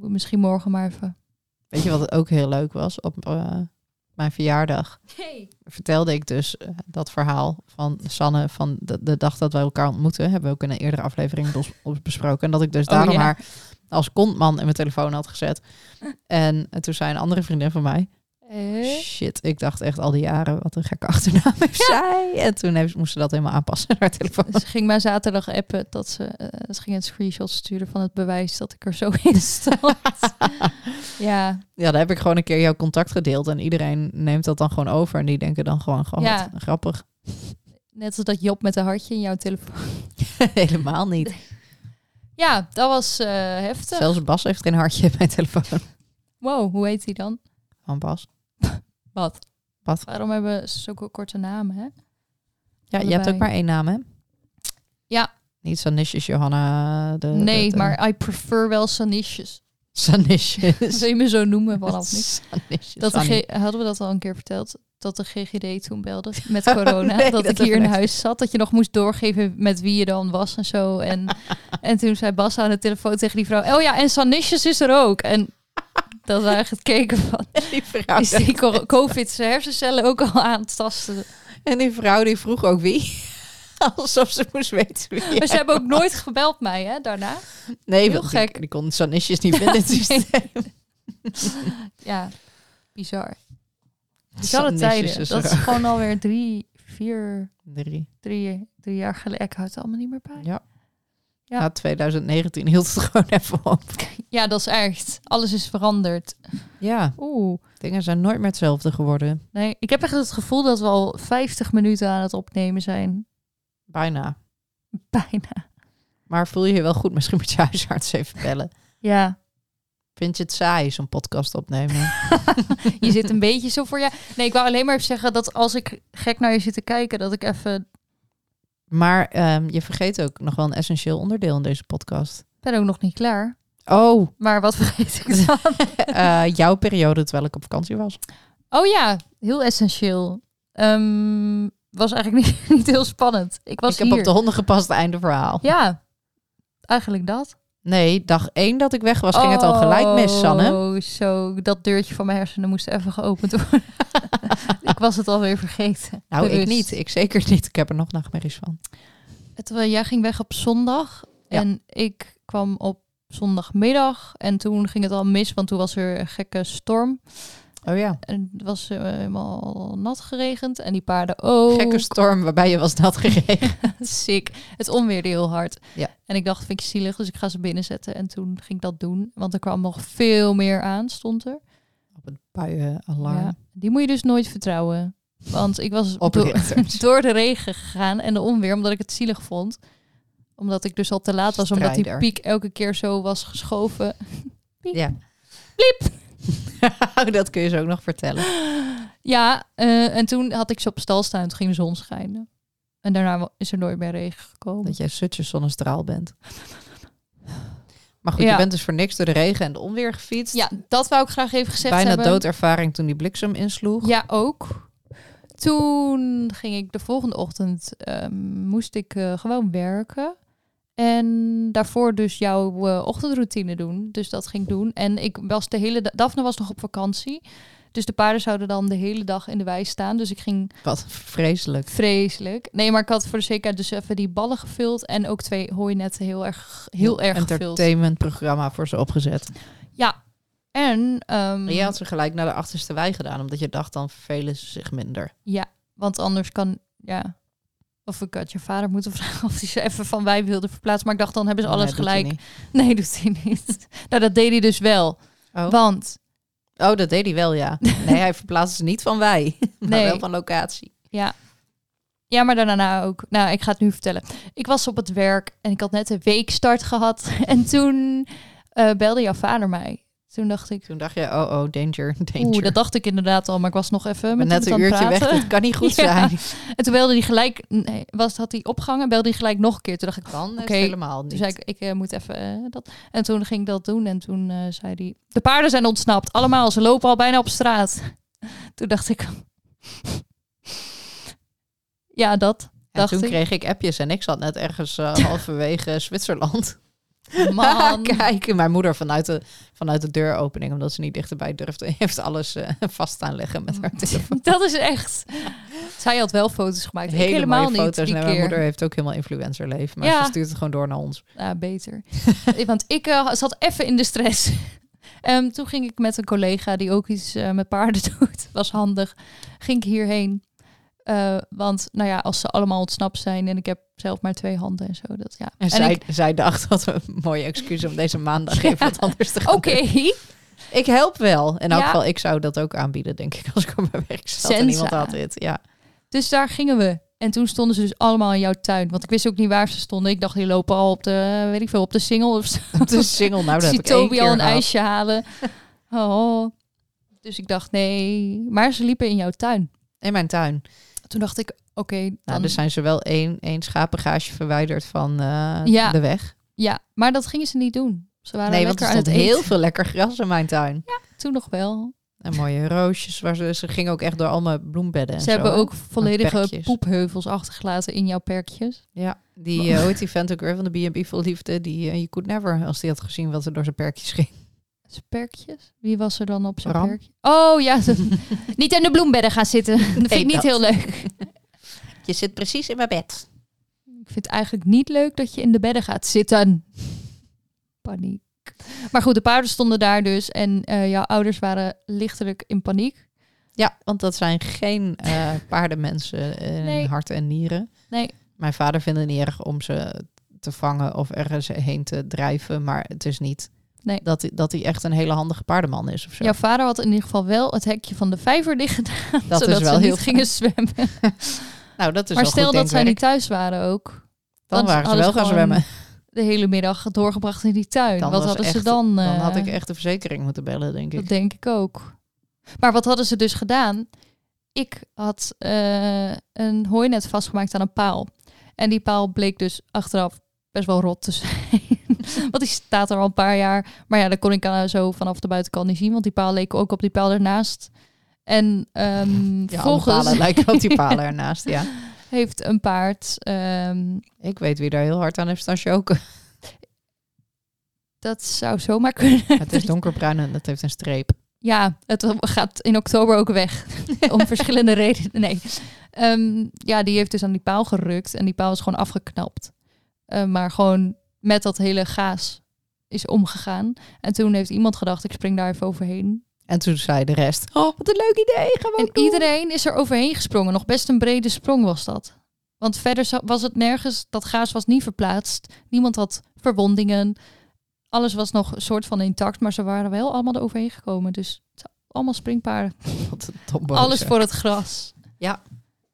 Speaker 4: moet misschien morgen maar even.
Speaker 3: Weet je wat ook heel leuk was? Op eh, mijn verjaardag.
Speaker 4: Hey.
Speaker 3: vertelde ik dus eh, dat verhaal van Sanne van de, de dag dat wij elkaar ontmoeten. Hebben we ook in een eerdere aflevering bes- op- besproken. En dat ik dus
Speaker 4: Oh,
Speaker 3: daarom
Speaker 4: ja.
Speaker 3: haar als kontman in mijn telefoon had gezet. En, eh, toen zei een andere vriendin van mij...
Speaker 4: Eh?
Speaker 3: Shit, ik dacht echt al die jaren, wat een gekke achternaam heeft zij. En toen heeft, moest ze dat helemaal aanpassen naar haar telefoon.
Speaker 4: Ze ging mij zaterdag appen dat ze, eh, ze ging een screenshot sturen van het bewijs dat ik er zo in stond. ja,
Speaker 3: Ja, daar heb ik gewoon een keer jouw contact gedeeld. En iedereen neemt dat dan gewoon over. En die denken dan gewoon, gewoon
Speaker 4: Ja.
Speaker 3: wat grappig.
Speaker 4: net als dat Job met een hartje in jouw telefoon.
Speaker 3: helemaal niet.
Speaker 4: Ja, dat was eh, heftig.
Speaker 3: Zelfs Bas heeft geen hartje in mijn telefoon.
Speaker 4: Wow, hoe heet hij dan?
Speaker 3: Van Bas.
Speaker 4: Wat?
Speaker 3: Wat?
Speaker 4: Waarom hebben ze zulke korte namen, hè?
Speaker 3: Ja, je hebt
Speaker 4: Allebei.
Speaker 3: ook maar één naam, hè?
Speaker 4: Ja.
Speaker 3: Niet Sanisjes Johanna. De,
Speaker 4: Nee,
Speaker 3: de-
Speaker 4: maar I prefer wel Sanisjes.
Speaker 3: Sanisjes.
Speaker 4: Wil je me zo noemen vanaf nu?
Speaker 3: Sanisjes,
Speaker 4: Dat de
Speaker 3: Sannie.
Speaker 4: G- hadden we dat al een keer verteld? Dat de GGD toen belde met corona.
Speaker 3: nee,
Speaker 4: dat,
Speaker 3: dat
Speaker 4: ik hier in
Speaker 3: heb ik
Speaker 4: huis zat. Dat je nog moest doorgeven met wie je dan was en zo. En, en toen zei Bas aan de telefoon tegen die vrouw... Oh ja, en Sanisjes is er ook. En dat we eigenlijk keken van...
Speaker 3: die vrouw,
Speaker 4: Is die cor- covid zijn hersencellen ook al aan het tasten?
Speaker 3: en die vrouw die vroeg ook wie. Alsof ze moest weten wie
Speaker 4: Maar
Speaker 3: jij
Speaker 4: ze hebben ook nooit gebeld mij, hè, daarna.
Speaker 3: Nee,
Speaker 4: Heel
Speaker 3: want
Speaker 4: gek.
Speaker 3: Die, die kon Sanisjes niet vinden in het systeem.
Speaker 4: Ja, bizar. Bizarre
Speaker 3: Sanisjes
Speaker 4: tijden.
Speaker 3: is
Speaker 4: dat is
Speaker 3: er
Speaker 4: gewoon alweer drie, vier,
Speaker 3: Drie.
Speaker 4: drie, drie jaar geleden. Ik houd het allemaal niet meer bij.
Speaker 3: Ja.
Speaker 4: Ja.
Speaker 3: Na 2019 hield het gewoon even op.
Speaker 4: Ja, dat is echt. Alles is veranderd.
Speaker 3: Ja,
Speaker 4: Oeh.
Speaker 3: dingen zijn nooit meer hetzelfde geworden.
Speaker 4: Nee, ik heb echt het gevoel dat we al 50 minuten aan het opnemen zijn.
Speaker 3: Bijna.
Speaker 4: Bijna.
Speaker 3: Maar voel je je wel goed? Misschien moet je huisarts even bellen.
Speaker 4: Ja.
Speaker 3: Vind je het saai, zo'n podcast opnemen?
Speaker 4: Je zit een beetje zo voor je. Nee, ik wou alleen maar even zeggen dat als ik gek naar je zit te kijken, dat ik even.
Speaker 3: Maar ehm, je vergeet ook nog wel een essentieel onderdeel in deze podcast.
Speaker 4: Ik ben ook nog niet klaar.
Speaker 3: Oh,
Speaker 4: Maar wat vergeet ik dan?
Speaker 3: eh, jouw periode terwijl ik op vakantie was.
Speaker 4: Oh ja, heel essentieel. Ehm, was eigenlijk niet, niet heel spannend. Ik was
Speaker 3: ik heb
Speaker 4: hier.
Speaker 3: op de honden gepast, einde verhaal.
Speaker 4: Ja, eigenlijk dat.
Speaker 3: Nee, dag één dat ik weg was, ging het al gelijk mis, Sanne.
Speaker 4: Oh, zo. Dat deurtje van mijn hersenen moest even geopend worden. ik was het alweer vergeten.
Speaker 3: Nou,
Speaker 4: De
Speaker 3: ik
Speaker 4: rust.
Speaker 3: niet. Ik zeker niet. Ik heb er nog nachtmerries van.
Speaker 4: Het, eh, jij ging weg op zondag
Speaker 3: Ja.
Speaker 4: en ik kwam op zondagmiddag. En toen ging het al mis, want toen was er een gekke storm.
Speaker 3: Oh ja.
Speaker 4: En het was eh, helemaal nat geregend en die paarden ook.
Speaker 3: Gekke storm waarbij je was nat geregen.
Speaker 4: Sick. Het onweerde heel hard.
Speaker 3: Ja.
Speaker 4: En ik dacht, vind ik zielig, dus ik ga ze binnenzetten. En toen ging ik dat doen, want er kwam nog veel meer aan, stond er.
Speaker 3: Op het buienalarm.
Speaker 4: Ja. Die moet je dus nooit vertrouwen. Want ik was
Speaker 3: Op
Speaker 4: door,
Speaker 3: Richters.
Speaker 4: door de regen gegaan en de onweer, omdat ik het zielig vond. Omdat ik dus al te laat was, omdat die
Speaker 3: Strijder.
Speaker 4: piek elke keer zo was geschoven.
Speaker 3: Ja. dat kun je ze ook nog vertellen.
Speaker 4: Ja, eh, en toen had ik ze op stal staan en toen ging de zon schijnen. En daarna wa- is er nooit meer regen gekomen.
Speaker 3: Dat jij such een zonnestraal bent. Maar goed,
Speaker 4: Ja.
Speaker 3: je bent dus voor niks door de regen en de onweer gefietst.
Speaker 4: Ja, dat wou ik graag even gezegd
Speaker 3: Bijna
Speaker 4: hebben.
Speaker 3: doodervaring toen die bliksem insloeg.
Speaker 4: Ja, ook. Toen ging ik de volgende ochtend, ehm, moest ik eh, gewoon werken. En daarvoor dus jouw eh, ochtendroutine doen. Dus dat ging ik doen. En ik was de hele dag, Daphne was nog op vakantie. Dus de paarden zouden dan de hele dag in de wei staan. Dus ik ging
Speaker 3: Wat vreselijk.
Speaker 4: vreselijk. Nee, maar ik had voor de zekerheid dus even die ballen gevuld. En ook twee hooinetten heel erg, heel erg Mm. gevuld.
Speaker 3: entertainmentprogramma voor ze opgezet.
Speaker 4: En, ehm,
Speaker 3: Maar jij had ze gelijk naar de achterste wei gedaan, omdat je dacht dan vervelen ze zich minder.
Speaker 4: Want anders kan, ja. Of ik had je vader moeten vragen of hij ze even van wij wilde verplaatsen. Maar ik dacht, dan hebben ze
Speaker 3: Nee,
Speaker 4: Dus alles
Speaker 3: doet hij
Speaker 4: gelijk.
Speaker 3: niet.
Speaker 4: Nee, doet hij niet. nou, dat deed hij dus wel.
Speaker 3: Oh.
Speaker 4: Want,
Speaker 3: Oh, dat deed hij wel, ja. Nee, hij verplaatste ze niet van wij, maar
Speaker 4: Nee.
Speaker 3: wel van locatie.
Speaker 4: ja, maar daarna ook. Nou, ik ga het nu vertellen. Ik was op het werk en ik had net een weekstart gehad. En toen eh, belde jouw vader mij. Toen dacht ik,
Speaker 3: Toen dacht je, oh, oh, danger, danger.
Speaker 4: oeh, dat dacht ik inderdaad al. Maar ik was nog even
Speaker 3: Ik ben
Speaker 4: met
Speaker 3: net
Speaker 4: iemand
Speaker 3: een
Speaker 4: aan het
Speaker 3: uurtje weg,
Speaker 4: praten.
Speaker 3: dat kan niet goed
Speaker 4: Ja.
Speaker 3: zijn.
Speaker 4: En toen belde hij gelijk, nee, was, had hij opgehangen, belde hij gelijk nog een keer. Toen dacht ik,
Speaker 3: Dan is
Speaker 4: Oké,
Speaker 3: het helemaal niet.
Speaker 4: Toen zei ik, ik eh, moet even eh, dat. En toen ging ik dat doen en toen eh, zei hij... De paarden zijn ontsnapt, allemaal. Ze lopen al bijna op straat. toen dacht ik... ja, dat.
Speaker 3: en
Speaker 4: dacht
Speaker 3: toen
Speaker 4: ik.
Speaker 3: kreeg ik appjes en ik zat net ergens eh, halverwege Zwitserland.
Speaker 4: Man.
Speaker 3: Kijk, mijn moeder vanuit de, vanuit de deuropening, omdat ze niet dichterbij durfde, heeft alles eh, vast aan leggen met haar telefoon.
Speaker 4: Mm, dat is echt... Zij had wel foto's gemaakt. ik
Speaker 3: Hele
Speaker 4: helemaal
Speaker 3: mooie
Speaker 4: niet
Speaker 3: foto's.
Speaker 4: die
Speaker 3: En
Speaker 4: keer.
Speaker 3: mijn moeder heeft ook helemaal influencerleven, maar
Speaker 4: Ja.
Speaker 3: ze stuurt het gewoon door naar ons.
Speaker 4: Ja, beter. Want ik eh, zat even in de stress. Ehm, toen ging ik met een collega die ook iets eh, met paarden doet, was handig, ging ik hierheen. Eh, want nou ja, als ze allemaal ontsnapt zijn en ik heb zelf maar twee handen en zo, dat ja.
Speaker 3: En, zij,
Speaker 4: ik-
Speaker 3: zij dacht, wat een mooie excuus om deze maandag even wat anders te gaan
Speaker 4: Oké,
Speaker 3: doen. Ik help wel. In elk
Speaker 4: Ja.
Speaker 3: geval, ik zou dat ook aanbieden, denk ik, als ik op mijn werk zat en
Speaker 4: Sensa.
Speaker 3: iemand had dit. Ja.
Speaker 4: dus daar gingen we. En toen stonden ze dus allemaal in jouw tuin, want ik wist ook niet waar ze stonden. Ik dacht, die lopen al op de, weet ik veel, op de single of zo.
Speaker 3: De single, nou Oh, dat
Speaker 4: zie
Speaker 3: heb ik één
Speaker 4: Toby
Speaker 3: keer
Speaker 4: al een
Speaker 3: gehad.
Speaker 4: ijsje halen. Oh. Dus ik dacht, nee. Maar ze liepen in jouw tuin.
Speaker 3: In mijn tuin.
Speaker 4: Toen dacht ik, oké,
Speaker 3: Nou,
Speaker 4: dan...
Speaker 3: dus zijn ze wel één, één schapengaasje verwijderd van eh,
Speaker 4: Ja.
Speaker 3: de weg.
Speaker 4: Ja, maar dat gingen ze niet doen. Ze waren
Speaker 3: Nee, want er
Speaker 4: lekker aan
Speaker 3: stond
Speaker 4: het
Speaker 3: heel
Speaker 4: eten.
Speaker 3: veel lekker gras in mijn tuin.
Speaker 4: Toen nog wel.
Speaker 3: En mooie roosjes. Waar ze, ze gingen ook echt door al mijn bloembedden en
Speaker 4: ze
Speaker 3: zo,
Speaker 4: hebben
Speaker 3: hè.
Speaker 4: ook volledige
Speaker 3: perkjes.
Speaker 4: poepheuvels achtergelaten in jouw perkjes.
Speaker 3: Ja, die, eh, hoe heet die vent ook weer van de B&B Vol Liefde? Die eh, You Could Never, als die had gezien wat er door zijn perkjes ging.
Speaker 4: Zijn Dus perkjes? Wie was er dan op zijn
Speaker 3: Ram.
Speaker 4: perkje? Oh ja, ze- niet in de bloembedden gaan zitten. Dat vind ik niet
Speaker 3: dat.
Speaker 4: heel leuk.
Speaker 3: Je zit precies in mijn bed.
Speaker 4: Ik vind het eigenlijk niet leuk dat je in de bedden gaat zitten. Paniek. Maar goed, de paarden stonden daar dus en eh, jouw ouders waren lichtelijk in paniek.
Speaker 3: Ja, want dat zijn geen eh, paardenmensen in
Speaker 4: Nee.
Speaker 3: hart en nieren.
Speaker 4: Nee,
Speaker 3: Mijn vader vindt het niet erg om ze te vangen of ergens heen te drijven. Maar het is niet
Speaker 4: Nee.
Speaker 3: dat, hij- dat hij echt een hele handige paardenman is of zo.
Speaker 4: jouw vader had in ieder geval wel het hekje van de vijver dicht gedaan,
Speaker 3: Dat is
Speaker 4: zodat
Speaker 3: wel
Speaker 4: ze
Speaker 3: heel
Speaker 4: niet gingen zwemmen.
Speaker 3: nou, dat is
Speaker 4: maar
Speaker 3: wel
Speaker 4: stel
Speaker 3: goed
Speaker 4: dat zij
Speaker 3: denkwerk.
Speaker 4: niet thuis waren ook,
Speaker 3: Dan
Speaker 4: dan
Speaker 3: waren ze
Speaker 4: hadden
Speaker 3: wel
Speaker 4: ze
Speaker 3: gaan
Speaker 4: gewoon-
Speaker 3: zwemmen.
Speaker 4: de hele middag doorgebracht in die tuin.
Speaker 3: Dan
Speaker 4: Wat
Speaker 3: was
Speaker 4: hadden ze
Speaker 3: echt-
Speaker 4: dan?
Speaker 3: Dan
Speaker 4: eh,
Speaker 3: had ik echt de verzekering moeten bellen, denk ik.
Speaker 4: Dat denk ik ook. Maar wat hadden ze dus gedaan? Ik had eh, een hooinet vastgemaakt aan een paal. En die paal bleek dus achteraf best wel rot te zijn. want die staat er al een paar jaar. Maar ja, dat kon ik eh, zo vanaf de buitenkant niet zien. Want die paal leek ook op die paal daarnaast. En ehm
Speaker 3: Ja, alle palen
Speaker 4: volgens
Speaker 3: lijken op die palen ernaast, ja.
Speaker 4: heeft een paard... ehm,
Speaker 3: Ik weet wie daar heel hard aan heeft staan choken.
Speaker 4: dat zou zomaar kunnen.
Speaker 3: Het is donkerbruin en dat heeft een streep.
Speaker 4: Ja, het gaat in oktober ook weg. Om verschillende redenen. Nee. Ehm, ja, die heeft dus aan die paal gerukt. En die paal is gewoon afgeknapt. Eh, maar gewoon met dat hele gaas is omgegaan. En toen heeft iemand gedacht, ik spring daar even overheen.
Speaker 3: En toen zei de rest, oh, wat een leuk idee, gaan we
Speaker 4: En
Speaker 3: ook doen.
Speaker 4: iedereen is er overheen gesprongen. Nog best een brede sprong was dat. Want verder za- was het nergens, dat gaas was niet verplaatst. Niemand had verwondingen. Alles was nog een soort van intact, maar ze waren wel allemaal er overheen gekomen. Dus het zijn allemaal springpaarden.
Speaker 3: Wat een domboze.
Speaker 4: Alles voor het gras.
Speaker 3: Ja.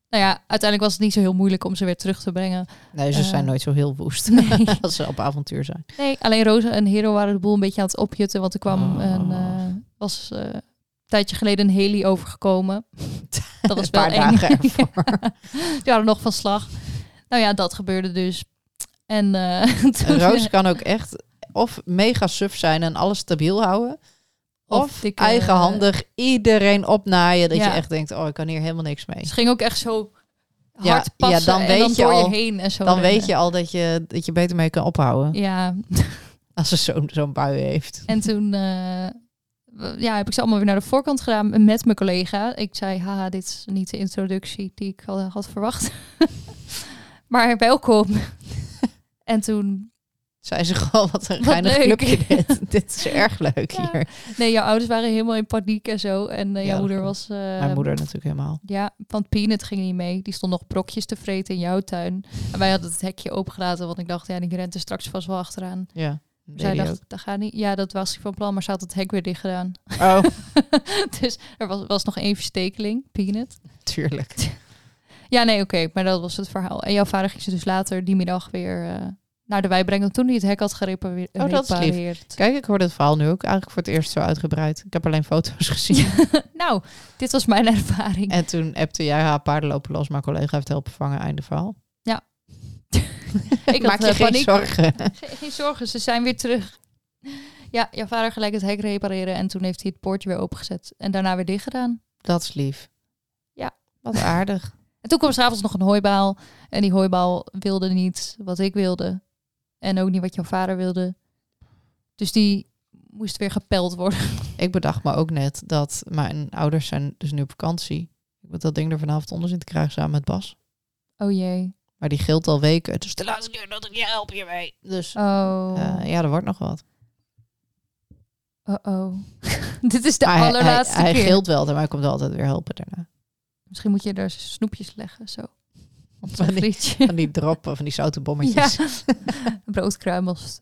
Speaker 4: Nou ja, uiteindelijk was het niet zo heel moeilijk om ze weer terug te brengen.
Speaker 3: Nee, ze
Speaker 4: Eh,
Speaker 3: zijn nooit zo heel woest
Speaker 4: nee.
Speaker 3: als ze op avontuur zijn.
Speaker 4: Nee, alleen Rosa en Hero waren de boel een beetje aan het opjutten. Want er kwam
Speaker 3: Oh.
Speaker 4: een, eh, was eh, een tijdje geleden een heli overgekomen. Dat was
Speaker 3: een
Speaker 4: wel
Speaker 3: paar
Speaker 4: eng.
Speaker 3: dagen ervoor.
Speaker 4: Die waren nog van slag. Nou ja, dat gebeurde dus. En eh, toen...
Speaker 3: En Roos kan ook echt of mega suf zijn en alles stabiel houden. Of,
Speaker 4: Of dikke-
Speaker 3: eigenhandig iedereen opnaaien. Dat
Speaker 4: Ja.
Speaker 3: je echt denkt, oh, ik kan hier helemaal niks mee.
Speaker 4: Ze ging ook echt zo
Speaker 3: Ja,
Speaker 4: hard
Speaker 3: ja,
Speaker 4: passen
Speaker 3: dan
Speaker 4: en
Speaker 3: weet
Speaker 4: dan
Speaker 3: je
Speaker 4: door je
Speaker 3: al-
Speaker 4: heen en zo.
Speaker 3: Dan
Speaker 4: rennen.
Speaker 3: weet je al dat je, dat je beter mee kan ophouden.
Speaker 4: Ja,
Speaker 3: Als ze zo'n zo'n bui heeft.
Speaker 4: En toen eh, w- ja, heb ik ze allemaal weer naar de voorkant gedaan met mijn collega. Ik zei, haha, dit is niet de introductie die ik had, had verwacht. maar welkom. en toen,
Speaker 3: Zijn ze gewoon, wat een
Speaker 4: Wat
Speaker 3: geinig
Speaker 4: leuk.
Speaker 3: clubje dit. dit is erg leuk
Speaker 4: Ja.
Speaker 3: hier.
Speaker 4: nee, jouw ouders waren helemaal in paniek en zo. En
Speaker 3: Ja,
Speaker 4: eh, jouw
Speaker 3: dat
Speaker 4: moeder
Speaker 3: klopt.
Speaker 4: was... eh,
Speaker 3: Mijn moeder natuurlijk helemaal.
Speaker 4: Ja, want Peanut ging niet mee. Die stond nog brokjes te vreten in jouw tuin. En wij hadden het hekje opengelaten, want ik dacht, ja, die rent er straks vast wel achteraan.
Speaker 3: Ja. deed
Speaker 4: Zij
Speaker 3: hij
Speaker 4: dacht,
Speaker 3: ook.
Speaker 4: dat gaat niet. Ja, dat was ik van plan, maar ze had het hek weer dicht gedaan.
Speaker 3: Oh,
Speaker 4: dus er was, was nog één verstekeling, Peanut.
Speaker 3: tuurlijk.
Speaker 4: Ja, nee, oké, maar dat was het verhaal. En jouw vader ging ze dus later die middag weer eh, naar de wei brengen. Toen hij het hek had gerepareerd.
Speaker 3: Oh, dat is lief. Kijk, ik hoor dit verhaal nu ook eigenlijk voor het eerst zo uitgebreid. Ik heb alleen foto's gezien.
Speaker 4: nou, dit was mijn ervaring.
Speaker 3: En toen appte jij haar paarden lopen los. Mijn collega heeft helpen vangen. Einde verhaal.
Speaker 4: ik
Speaker 3: Maak
Speaker 4: had,
Speaker 3: je
Speaker 4: eh,
Speaker 3: geen
Speaker 4: paniek.
Speaker 3: zorgen.
Speaker 4: Ge- Geen zorgen, ze zijn weer terug. Ja, jouw vader gelijk het hek repareren en toen heeft hij het poortje weer opengezet. En daarna weer dicht gedaan.
Speaker 3: Dat is lief.
Speaker 4: Ja.
Speaker 3: Wat aardig.
Speaker 4: En toen kwam s'avonds nog een hooibaal. En die hooibaal wilde niet wat ik wilde. En ook niet wat jouw vader wilde. Dus die moest weer gepeld worden.
Speaker 3: Ik bedacht me ook net dat mijn ouders zijn dus nu op vakantie. Ik moet dat ding er vanavond onder zien te krijgen samen met Bas.
Speaker 4: Oh jee.
Speaker 3: Maar die gilt al weken. Het is de laatste keer dat ik je help hiermee. Dus
Speaker 4: Oh.
Speaker 3: eh, ja, er wordt nog wat.
Speaker 4: Uh-oh. Dit is de
Speaker 3: Maar hij- hij-
Speaker 4: allerlaatste
Speaker 3: hij,
Speaker 4: keer.
Speaker 3: gilt wel, maar hij komt altijd weer helpen daarna.
Speaker 4: Misschien moet je daar snoepjes leggen, zo. Op
Speaker 3: Van
Speaker 4: zo'n
Speaker 3: die-
Speaker 4: frietje.
Speaker 3: Van die droppen, van die zoute
Speaker 4: Ja.
Speaker 3: bommetjes.
Speaker 4: Broodkruimels.